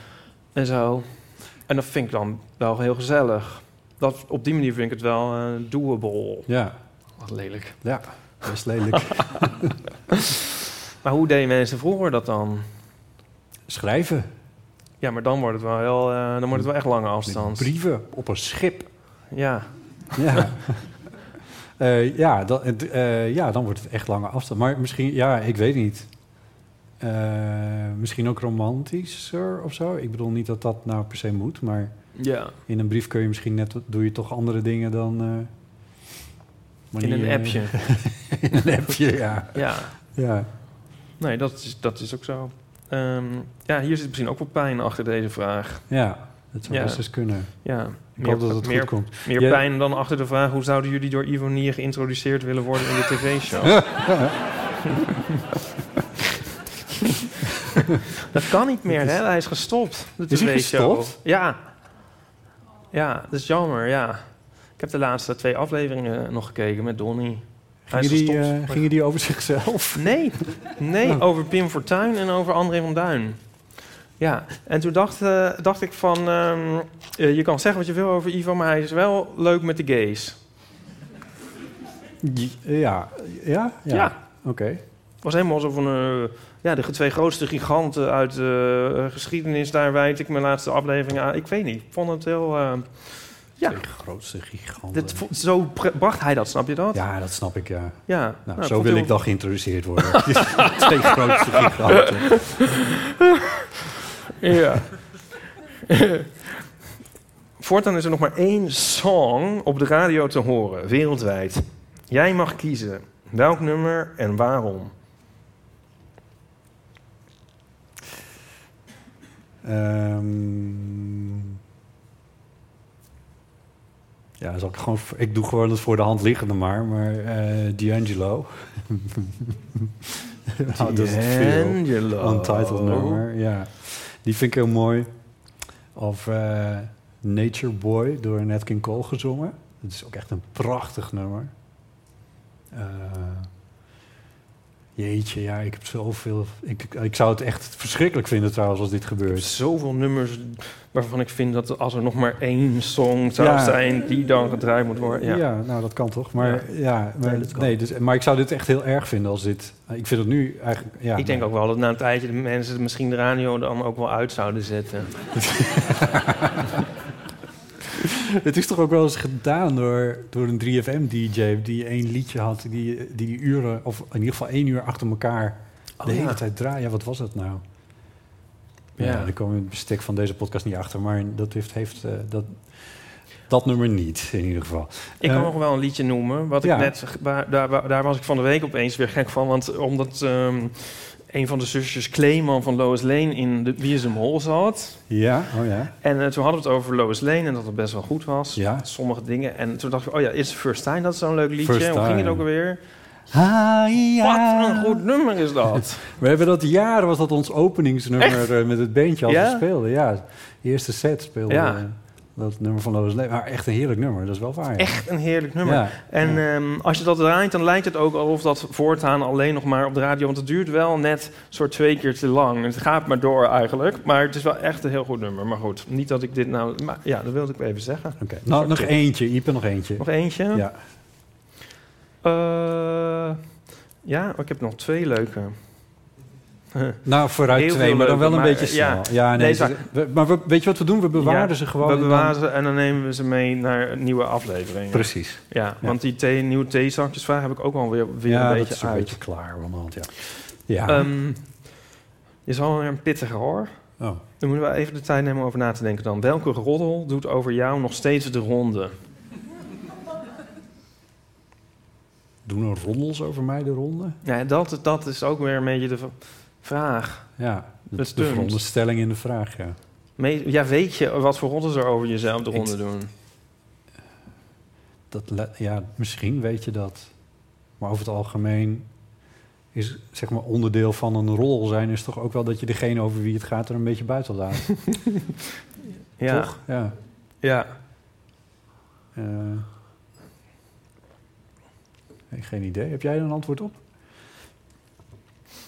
K: En zo. En dat vind ik dan wel heel gezellig. Dat, op die manier vind ik het wel eh, doable.
B: Ja.
K: Wat lelijk.
B: Ja, best lelijk.
K: maar hoe deden mensen vroeger dat dan?
B: Schrijven.
K: Ja, maar dan wordt het wel, heel, eh, dan wordt het wel echt lange afstand.
B: Brieven op een schip.
K: Ja.
B: Ja. Eh, ja, dan, eh, ja, dan wordt het echt lange afstand. Maar misschien, ja, ik weet niet. Eh, misschien ook romantischer of zo. Ik bedoel niet dat dat nou per se moet, maar
K: Ja.
B: in een brief kun je misschien net, doe je toch andere dingen dan. eh,
K: In een
B: wanneer je-
K: appje.
B: in een appje, ja.
K: Ja.
B: ja.
K: Nee, dat is, dat is ook zo. Ehm, ja, hier zit misschien ook wel pijn achter deze vraag.
B: Ja, dat zou
K: Ja.
B: best eens kunnen.
K: Ja.
B: Ik hoop dat het
K: meer,
B: goed komt.
K: Meer
B: Jij-
K: pijn dan achter de vraag... hoe zouden jullie door Ivonie geïntroduceerd willen worden in de tv-show? dat kan niet meer, hè? Hij is gestopt, de
B: Is hij
K: tv-show.
B: gestopt?
K: Ja. Ja, dat is jammer, ja. Ik heb de laatste twee afleveringen nog gekeken met Donnie. Hij is
B: Gingen die,
K: gestopt.
B: eh, gingen die over zichzelf?
K: Nee, nee
B: Oh.
K: over Pim Fortuyn en over André van Duin. Ja, en toen dacht, eh, dacht ik van... ehm, eh, je kan zeggen wat je wil over Ivo, maar hij is wel leuk met de gays.
B: Ja, ja, ja.
K: Ja.
B: Oké.
K: was helemaal zo van... eh, ja, de twee grootste giganten uit de geschiedenis... daar wijd ik mijn laatste aflevering aan. Ik weet niet, ik vond het heel... eh, ja,
B: De grootste gigant.
K: dit vo- zo pre- bracht hij dat, snap je dat?
B: Ja, dat snap ik, ja.
K: Ja.
B: Nou,
K: Nou, ik
B: zo
K: vond
B: wil
K: heel-
B: ik dan geïntroduceerd worden. Twee grootste giganten.
K: ja. Voortaan is er nog maar één song op de radio te horen, wereldwijd. Jij mag kiezen welk nummer en waarom.
B: Ehm, ja, zal ik, gewoon, ik doe gewoon het voor de hand liggende maar. Maar eh D'Angelo. Nou, dat is het veel.
K: D'Angelo.
B: Untitled nummer, ja. Die vind ik heel mooi. Of eh, Nature Boy door Nat King Cole gezongen. Dat is ook echt een prachtig nummer. Eh, jeetje, ja, ik heb zoveel... Ik, ik zou het echt verschrikkelijk vinden trouwens als dit gebeurt.
K: Zoveel nummers waarvan ik vind dat als er nog maar één song zou
B: Ja.
K: zijn die dan gedraaid moet worden.
B: Ja.
K: Ja.
B: nou dat kan toch. Maar, ja.
K: Ja.
B: maar,
K: Nee,
B: nee,
K: dat kan.
B: dus, maar ik zou dit echt heel erg vinden als dit... Ik vind het nu eigenlijk... Ja,
K: ik denk ook wel dat na een tijdje de mensen misschien de radio dan ook wel uit zouden zetten.
B: Het is toch ook wel eens gedaan door, door een 3FM-dj die één liedje had, die, die die uren, of in ieder geval één uur achter elkaar de
K: Oh, ja.
B: hele tijd draaien. Ja, wat was dat nou? Ja,
K: Ja.
B: daar komen we in het bestek van deze podcast niet achter, maar dat heeft, heeft eh, dat, dat nummer niet in ieder geval.
K: Ik kan
B: Eh,
K: nog wel een liedje noemen. Wat
B: ja.
K: ik net, waar- daar, waar- daar was ik van de week opeens weer gek van. Want omdat ehm, een van de zusjes Kleeman van Lois Lane in de Wie is hem Hol zat.
B: Ja, oh ja.
K: En eh, toen hadden we het over Lois Lane en dat het best wel goed was.
B: Ja.
K: Sommige dingen. En toen dacht ik, oh ja, is First Time dat zo'n leuk liedje?
B: First
K: Hoe ging het
B: Time.
K: ook alweer?
B: Wat
K: een goed nummer is dat.
B: We hebben dat jaren, was dat ons
K: Echt?
B: openingsnummer eh, met het bandje als
K: Ja?
B: we speelden. Ja, de eerste set speelde
K: Ja.
B: eh, dat nummer van Lois Leven. Maar echt een heerlijk nummer, dat is wel waar. ja.
K: Echt een heerlijk nummer.
B: Ja.
K: En ehm, als je dat draait, dan lijkt het ook alsof dat voortaan alleen nog maar op de radio. Want het duurt wel net soort twee keer te lang. Het gaat maar door eigenlijk. Maar het is wel echt een heel goed nummer. Maar goed, niet dat ik dit nou. Maar ja, dat wilde ik even zeggen. Oké.
B: Nou, nog eentje, Ipe, nog eentje.
K: Nog eentje?
B: Ja.
K: Eh, ja, ik heb nog twee leuke.
B: Nou, vooruit
K: Heel
B: twee,
K: veel
B: maar dan wel een
K: leuke,
B: beetje
K: maar,
B: snel.
K: ja.
B: Ja, nee,
K: Nee,
B: ze-
K: zo-
B: we- maar we- weet je wat we doen? We bewaren
K: Ja,
B: ze gewoon.
K: We
B: en dan-
K: bewaren ze en dan nemen we ze mee naar een nieuwe aflevering.
B: Precies.
K: Ja,
B: Ja.
K: want die thee, nieuwe theezakjesvraag heb ik ook alweer weer
B: ja,
K: een
B: dat
K: beetje
B: is een
K: uit.
B: beetje klaar onderhand, ja. Ja,
K: Ehm, is wel weer een pittige hoor.
B: Oh.
K: Dan moeten we even de tijd nemen om over na te denken dan. Welke roddel doet over jou nog steeds de ronde?
B: doen er roddels over mij de ronde?
K: Ja, dat, dat is ook weer een beetje de v- vraag.
B: Ja,
K: dat
B: de,
K: is
B: de veronderstelling in de vraag, ja.
K: Ja, weet je wat voor roddels er over jezelf de ronde doen?
B: Dat, le- ja, misschien weet je dat. Maar over het algemeen is zeg maar onderdeel van een roddel zijn... is toch ook wel dat je degene over wie het gaat er een beetje buiten laat.
K: Ja.
B: Toch? Ja.
K: Ja.
B: Eh, nee, geen idee. Heb jij er een antwoord op?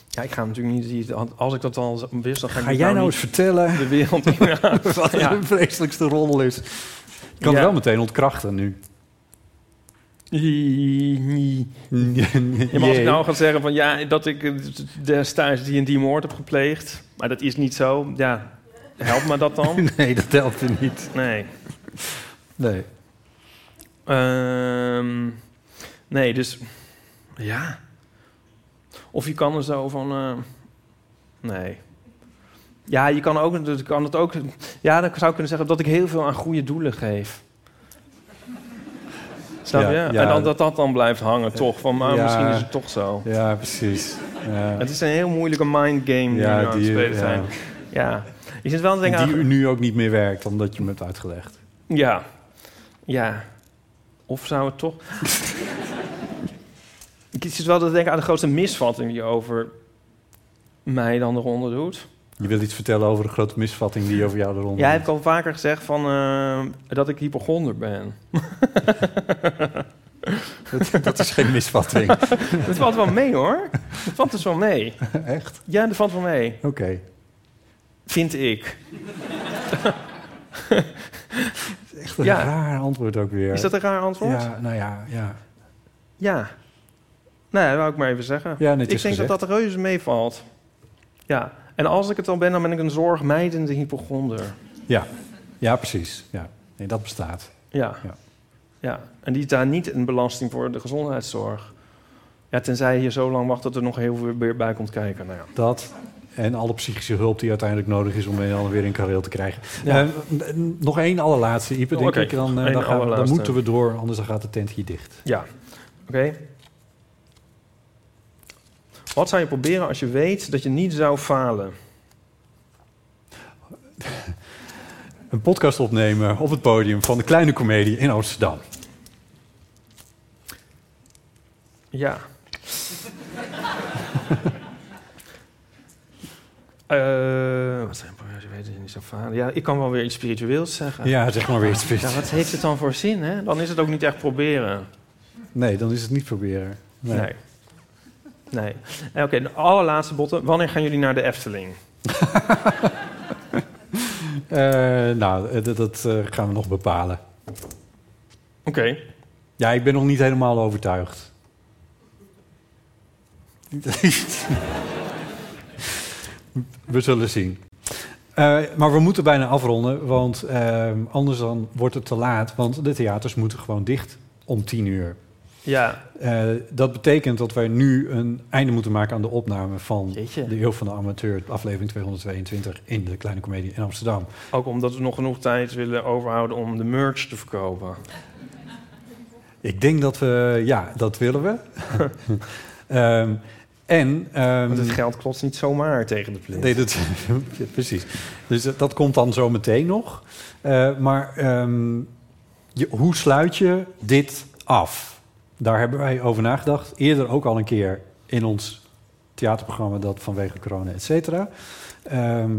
K: Ja, ik ga natuurlijk niet... die- Als ik dat al wist, dan ga,
B: Ga
K: ik
B: jij
K: het
B: nou
K: niet
B: eens vertellen
K: De wereld in.
B: wat de vreselijkste roddel is? Ik kan
K: Ja.
B: het wel meteen ontkrachten nu.
K: Ja, maar als ik nou ga zeggen van ja, dat ik eh, destijds die en die moord heb gepleegd, maar dat is niet zo, ja, helpt me dat dan?
B: Nee, dat helpt er niet.
K: Nee.
B: Nee.
K: Ehm, nee, dus ja. Of je kan er zo van. eh, nee. Ja, je kan, ook, dat kan het ook. Ja, dan zou ik kunnen zeggen dat ik heel veel aan goede doelen geef. Snap
B: Ja,
K: je?
B: ja.
K: en dan, dat dat dan blijft hangen, toch? Van, maar
B: Ja.
K: misschien is het toch zo.
B: Ja, precies. Ja.
K: Het is een heel moeilijke mind game
B: Ja,
K: die we nu aan het
B: die,
K: spelen
B: ja.
K: zijn. Ja. Je zit wel te denken aan...
B: Die u nu ook niet meer werkt, omdat je me hebt uitgelegd.
K: Ja. Ja. Of zou het toch... ik zit wel te denken aan de grootste misvatting die je over mij dan eronder doet.
B: Je wilt iets vertellen over een grote misvatting die over jou eronder
K: Jij hebt al vaker gezegd van, eh, dat ik hypochonder ben.
B: dat, dat is geen misvatting.
K: dat valt wel mee hoor. Dat valt dus wel mee.
B: Echt?
K: Ja, dat valt wel mee.
B: Oké.
K: Vind ik.
B: Echt een
K: Ja.
B: raar antwoord ook weer. nou
K: Is dat een raar antwoord?
B: Ja, nou ja, ja.
K: Ja. Nee, dat wou ik maar even zeggen.
B: Ja,
K: ik
B: netjes
K: denk dat
B: gezegd.
K: dat reuze meevalt. Ja. En als ik het al ben, dan ben ik een zorgmijdende hypochonder.
B: Ja, ja precies. Ja. Nee, dat bestaat.
K: Ja. ja. En die is daar niet een belasting voor de gezondheidszorg. Ja, tenzij je zo lang wacht dat er nog heel veel weer bij komt kijken. Nou ja.
B: Dat en alle psychische hulp die uiteindelijk nodig is om een en ander weer in kareel te krijgen.
K: Ja.
B: Eh, n- n- nog één allerlaatste, Ipe, denk
K: Oké,
B: ik. Dan, eh, dan,
K: één
B: gaan we- dan
K: allerlaatste.
B: moeten we door, anders dan gaat de tent hier dicht.
K: Ja, oké. Wat zou je proberen als je weet dat je niet zou falen?
B: Een podcast opnemen op het podium van de Kleine Comedie in Amsterdam.
K: Ja. Eh, wat zijn problemen? Je weet dat je niet zou falen. Ja, ik kan wel weer iets spiritueels zeggen.
B: Ja, zeg maar weer iets spiritueels.
K: Ja, wat heeft het dan voor zin, hè? Dan is het ook niet echt proberen.
B: Nee, dan is het niet proberen.
K: Nee. Nee. En Eh, Oké, de allerlaatste botten. Wanneer gaan jullie naar de Efteling?
B: Eh, nou, eh, dat, dat, eh, gaan we nog bepalen.
K: Oké.
B: Ja, ik ben nog niet helemaal overtuigd. we zullen zien. Eh, maar we moeten bijna afronden, want eh, anders dan wordt het te laat. Want de theaters moeten gewoon dicht om tien uur.
K: Ja.
B: Eh, dat betekent dat wij nu een einde moeten maken aan de opname van De Eeuw van de Amateur, aflevering 222 in de Kleine Comedie in Amsterdam.
K: Ook omdat we nog genoeg tijd willen overhouden om de merch te verkopen.
B: Ik denk dat we, ja, dat willen we. Ehm, en. ehm,
K: Want het geld klotst niet zomaar tegen de plint.
B: Nee, dat, ja, precies. Dus dat, dat komt dan zo meteen nog. Eh, maar ehm, je, hoe sluit je dit af? Daar hebben wij over nagedacht. Eerder ook al een keer in ons theaterprogramma, dat vanwege corona, et cetera. Ehm,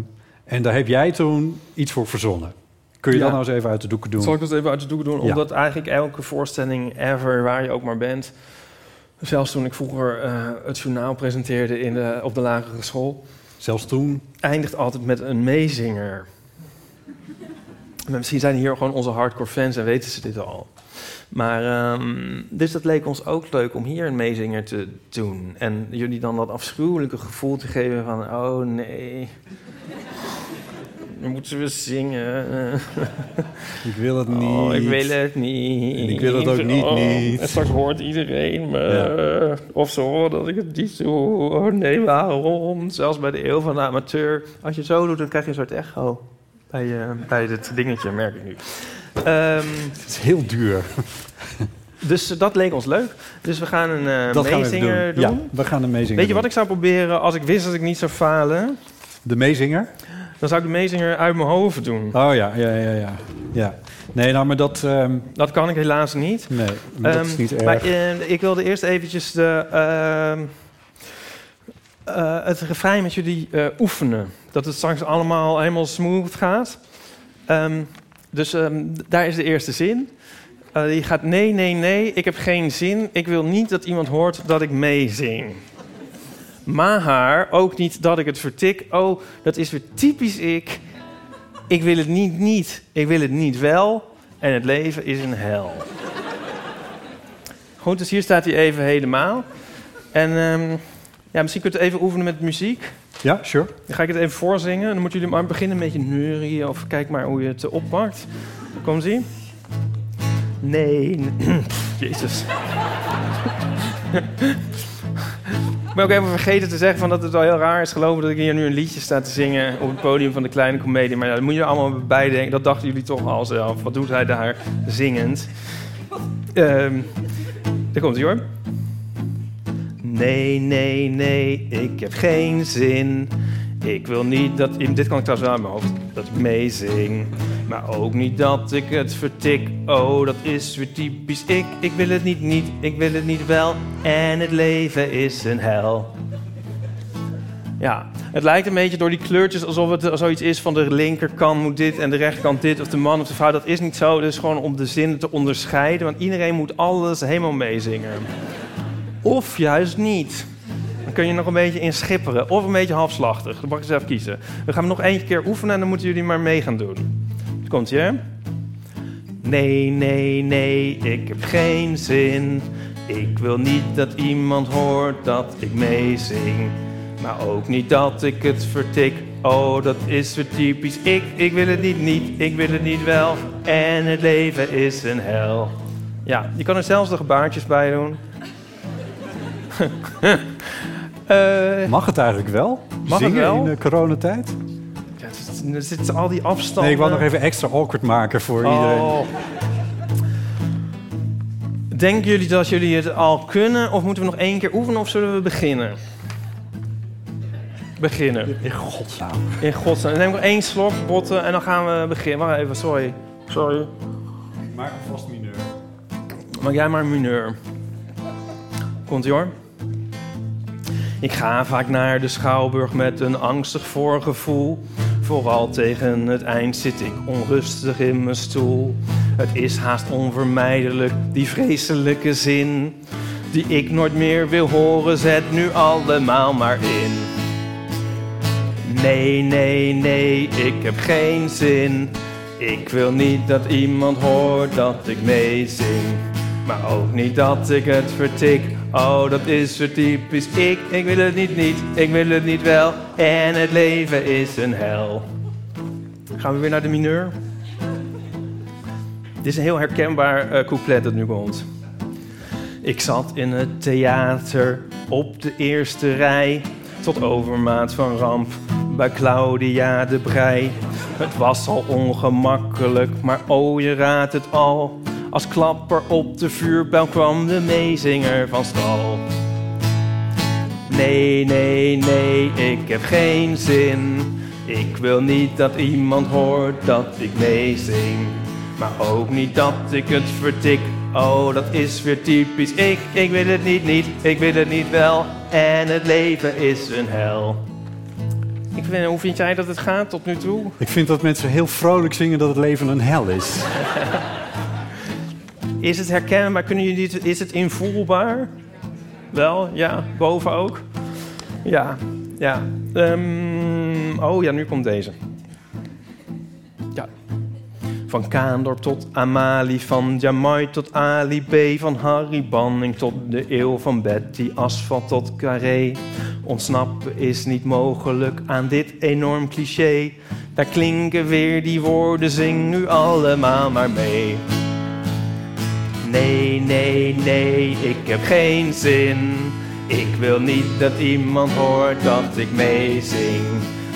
B: en daar heb jij toen iets voor verzonnen. Kun je
K: Ja.
B: dat nou eens even uit de doeken doen?
K: Zal ik dat even uit de doek doen?
B: Ja.
K: Omdat eigenlijk elke voorstelling ever, waar je ook maar bent... Zelfs toen ik vroeger eh, het journaal presenteerde in de, op de lagere school...
B: Zelfs toen?
K: Eindigt altijd met een meezinger. Maar misschien zijn hier gewoon onze hardcore fans en weten ze dit al. Maar, ehm, dus dat leek ons ook leuk om hier een meezinger te doen. En jullie dan dat afschuwelijke gevoel te geven van... oh nee, dan moeten we zingen.
B: Ik wil het niet.
K: Oh, ik wil het niet.
B: En ik wil het ook niet,
K: Oh,
B: niet.
K: En straks hoort iedereen me. Of ze horen dat ik het niet doe. Oh nee, waarom? Zelfs bij de eeuw van de amateur. Als je zo doet, dan krijg je een soort echo. Bij, eh, bij dit dingetje, merk ik nu. het
B: is heel duur.
K: dus eh, dat leek ons leuk. Dus we gaan een eh
B: dat gaan we even
K: meezinger
B: doen. Ja, we gaan de meezinger
K: Weet je
B: doen.
K: wat ik zou proberen als ik wist dat ik niet zou falen?
B: De meezinger?
K: Dan zou ik de meezinger uit mijn hoofd doen.
B: Oh ja, ja, ja, ja. ja. Nee, nou, maar dat... ehm,
K: Dat kan ik helaas niet.
B: Nee, maar dat
K: Ehm,
B: is niet erg.
K: Maar eh, ik wilde eerst eventjes de, ehm, eh, het refrein met jullie eh, oefenen. Dat het straks allemaal helemaal smooth gaat. Ehm, dus ehm, d- daar is de eerste zin. Eh, die gaat nee, nee, nee, ik heb geen zin. Ik wil niet dat iemand hoort dat ik meezing. Maar haar, ook niet dat ik het vertik. Oh, dat is weer typisch ik. Ik wil het niet niet, ik wil het niet wel. En het leven is een hel. Goed, dus hier staat hij even helemaal. En ehm, ja, misschien kunt u even oefenen met muziek.
B: Ja, sure.
K: Dan ga ik het even voorzingen. Dan moeten jullie maar beginnen met je neurieën of kijk maar hoe je het eh, oppakt. Kom zie. Nee. nee. Jezus. ik ben ook even vergeten te zeggen van dat het wel heel raar is gelopen dat ik hier nu een liedje sta te zingen op het podium van de kleine comedie. Maar ja, dat moet je er allemaal bij denken. Dat dachten jullie toch al zelf. Wat doet hij daar zingend? Ehm daar komt hij hoor. Nee, nee, nee, ik heb geen zin. Ik wil niet dat... Dit kan ik trouwens wel uit mijn hoofd. Dat ik meezing. Maar ook niet dat ik het vertik. Oh, dat is weer typisch ik. Ik wil het niet niet, ik wil het niet wel. En het leven is een hel. Ja, het lijkt een beetje door die kleurtjes alsof het eh, zoiets is van de linkerkant moet dit en de rechterkant dit of de man of de vrouw. Dat is niet zo. Dus gewoon om de zinnen te onderscheiden, want iedereen moet alles helemaal meezingen. Of juist niet. Dan kun je nog een beetje in schipperen of een beetje halfslachtig. Dan mag je zelf kiezen. We gaan nog eentje keer oefenen en dan moeten jullie maar mee gaan doen. Komt ie, hè? Nee, nee, nee, ik heb geen zin. Ik wil niet dat iemand hoort dat ik meezing. Maar ook niet dat ik het vertik. Oh, dat is weer typisch. Ik, ik wil het niet, niet. Ik wil het niet wel. En het leven is een hel. Ja, je kan er zelfs de gebaartjes bij doen. Eh,
B: Mag het eigenlijk wel?
K: Mag het
B: Zingen
K: wel?
B: in de coronatijd?
K: ja, er zit- er zitten al die afstanden.
B: Nee, ik wou nog even extra awkward maken voor iedereen.
K: eh, Oh. Denken jullie dat jullie het al kunnen? Of moeten we nog één keer oefenen of zullen we beginnen? Beginnen.
B: In godsnaam.
K: In godsnaam. Dan neem ik nog één slok, botten, en dan gaan we beginnen. Wacht even, sorry. Sorry.
B: Maak een vast mineur.
K: Maak jij maar een mineur. Komt ie hoor. Ik ga vaak naar de schouwburg met een angstig voorgevoel. Vooral tegen het eind zit ik onrustig in mijn stoel. Het is haast onvermijdelijk, die vreselijke zin. Die ik nooit meer wil horen, zet nu allemaal maar in. Nee, nee, nee, ik heb geen zin. Ik wil niet dat iemand hoort dat ik meezing. Maar ook niet dat ik het vertik. Oh, dat is zo typisch. Ik, ik wil het niet, niet. Ik wil het niet wel. En het leven is een hel. Gaan we weer naar de mineur? Dit is een heel herkenbaar eh, couplet dat nu komt. Ik zat in het theater op de eerste rij. Tot overmaat van ramp bij Claudia de Brij. Het was al ongemakkelijk, maar oh je raadt het al. Als klapper op de vuurbel kwam de meezinger van stal. Nee, nee, nee, ik heb geen zin. Ik wil niet dat iemand hoort dat ik meezing. Maar ook niet dat ik het vertik. Oh, dat is weer typisch. Ik, ik wil het niet, niet. Ik wil het niet wel. En het leven is een hel. Ik vind, hoe vind jij dat het gaat tot nu toe?
B: Ik vind dat mensen heel vrolijk zingen dat het leven een hel is.
K: Is het herkenbaar? Kunnen jullie het, is het invoelbaar? Wel, ja. Boven ook? Ja, ja. Ehm, oh ja, nu komt deze. Ja. Van Kaandorp tot Amali, van Jamai tot Ali B. Van Harry Banning tot de eeuw van Betty, asfalt tot carré. Ontsnappen is niet mogelijk aan dit enorm cliché. Daar klinken weer die woorden, zing nu allemaal maar mee. Nee, nee, nee, ik heb geen zin. Ik wil niet dat iemand hoort dat ik meezing.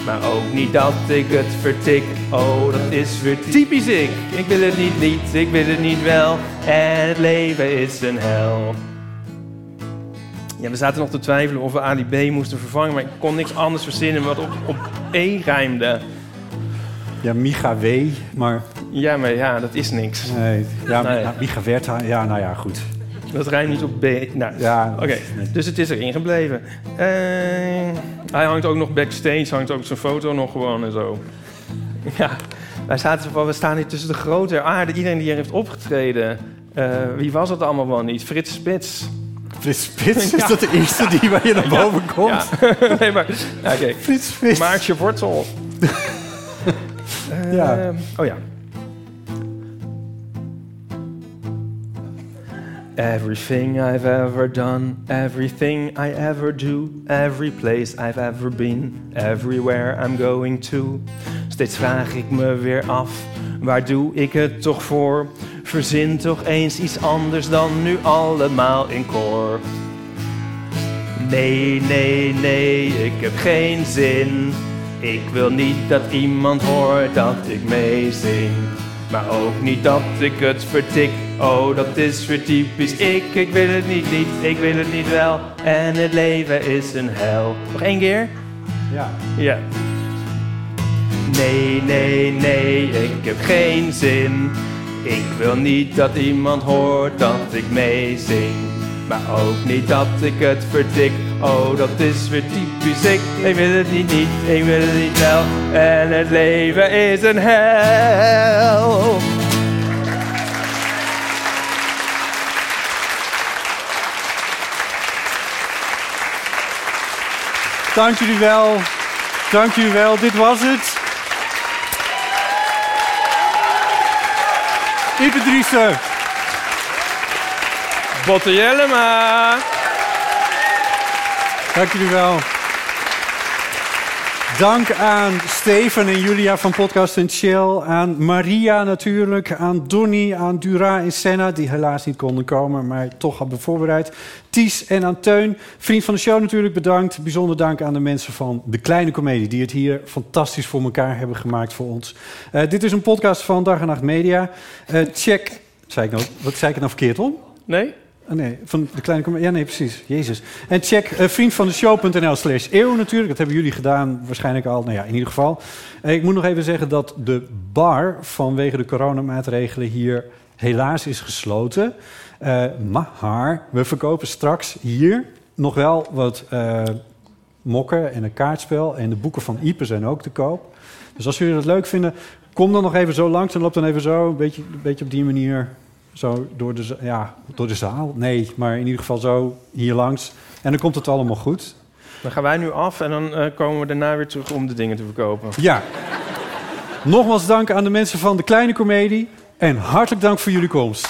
K: Maar ook niet dat ik het vertik. Oh, dat is weer typisch ik. Ik wil het niet niet, ik wil het niet wel. En het leven is een hel. Ja, we zaten nog te twijfelen of we Ali B moesten vervangen. Maar ik kon niks anders verzinnen wat op, op E rijmde.
B: Ja, Micha W, maar...
K: Ja, maar ja, dat is niks.
B: Nee, ja,
K: Nee.
B: nou, Micha Wertha, ja, nou ja, goed.
K: Dat rijmt niet op B. Nou,
B: Ja,
K: Oké, dus het is erin gebleven. Eh, hij hangt ook nog backstage, hangt ook zijn foto nog gewoon en zo. Ja, wij zaten van, we staan hier tussen de grote der aarde. Iedereen die hier heeft opgetreden. Eh, wie was dat allemaal wel niet? Frits Spits.
B: Frits Spits, is dat de eerste die bij je naar boven komt?
K: Ja. nee, maar... ja, oké.
B: Frits Spits.
K: Maartje Wortel.
B: Ja.
K: Eh, Oh ja. Everything I've ever done, everything I ever do, every place I've ever been, everywhere I'm going to. Steeds vraag ik me weer af, waar doe ik het toch voor? Verzin toch eens iets anders dan nu allemaal in koor. Nee, nee, nee, ik heb geen zin. Ik wil niet dat iemand hoort dat ik meezing. Maar ook niet dat ik het vertik. Oh, dat is weer typisch ik. Ik wil het niet, niet. Ik wil het niet wel. En het leven is een hel. Nog één keer?
B: Ja.
K: Ja. Nee, nee, nee, ik heb geen zin. Ik wil niet dat iemand hoort dat ik meezing. Maar ook niet dat ik het vertik. Oh, dat is weer typisch ik. Ik wil het niet, niet, ik wil het niet wel. En het leven is een hel.
B: Dank jullie wel. Dank jullie wel. Dit was het. Ipe Driessen.
C: Botte Jellema.
B: Dank jullie wel. Dank aan Steven en Julia van Podcast en Chill. Aan Maria natuurlijk. Aan Donny, aan Dura en Senna, die helaas niet konden komen, maar toch hadden we voorbereid. Ties en aan Teun. Vriend van de show natuurlijk bedankt. Bijzonder dank aan de mensen van De Kleine Comedie, die het hier fantastisch voor elkaar hebben gemaakt voor ons. Eh, dit is een podcast van Dag en Nacht Media. Eh, check. Zei ik nou, wat zei ik het nou verkeerd om?
C: Nee?
B: Ah, nee, van de kleine comedie. Ja, nee, precies. Jezus. En check eh, vriendvandeshow.nl slash eeuw natuurlijk. Dat hebben jullie gedaan waarschijnlijk al. Nou ja, in ieder geval. Eh, ik moet nog even zeggen dat de bar vanwege de coronamaatregelen hier helaas is gesloten. Eh, maar we verkopen straks hier nog wel wat eh, mokken en een kaartspel. En de boeken van Ieper zijn ook te koop. Dus als jullie dat leuk vinden, kom dan nog even zo langs en loop dan even zo, een beetje, een beetje op die manier, zo door de, za- ja, door de zaal. Nee, maar in ieder geval zo hier langs. En dan komt het allemaal goed.
C: Dan gaan wij nu af en dan eh, komen we daarna weer terug om de dingen te verkopen.
B: Ja. Nogmaals dank aan de mensen van de Kleine Comedie. En hartelijk dank voor jullie komst.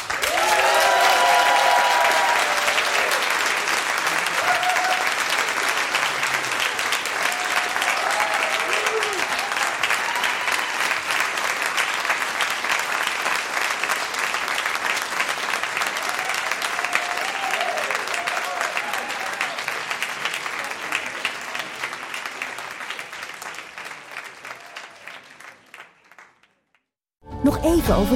A: Nog even over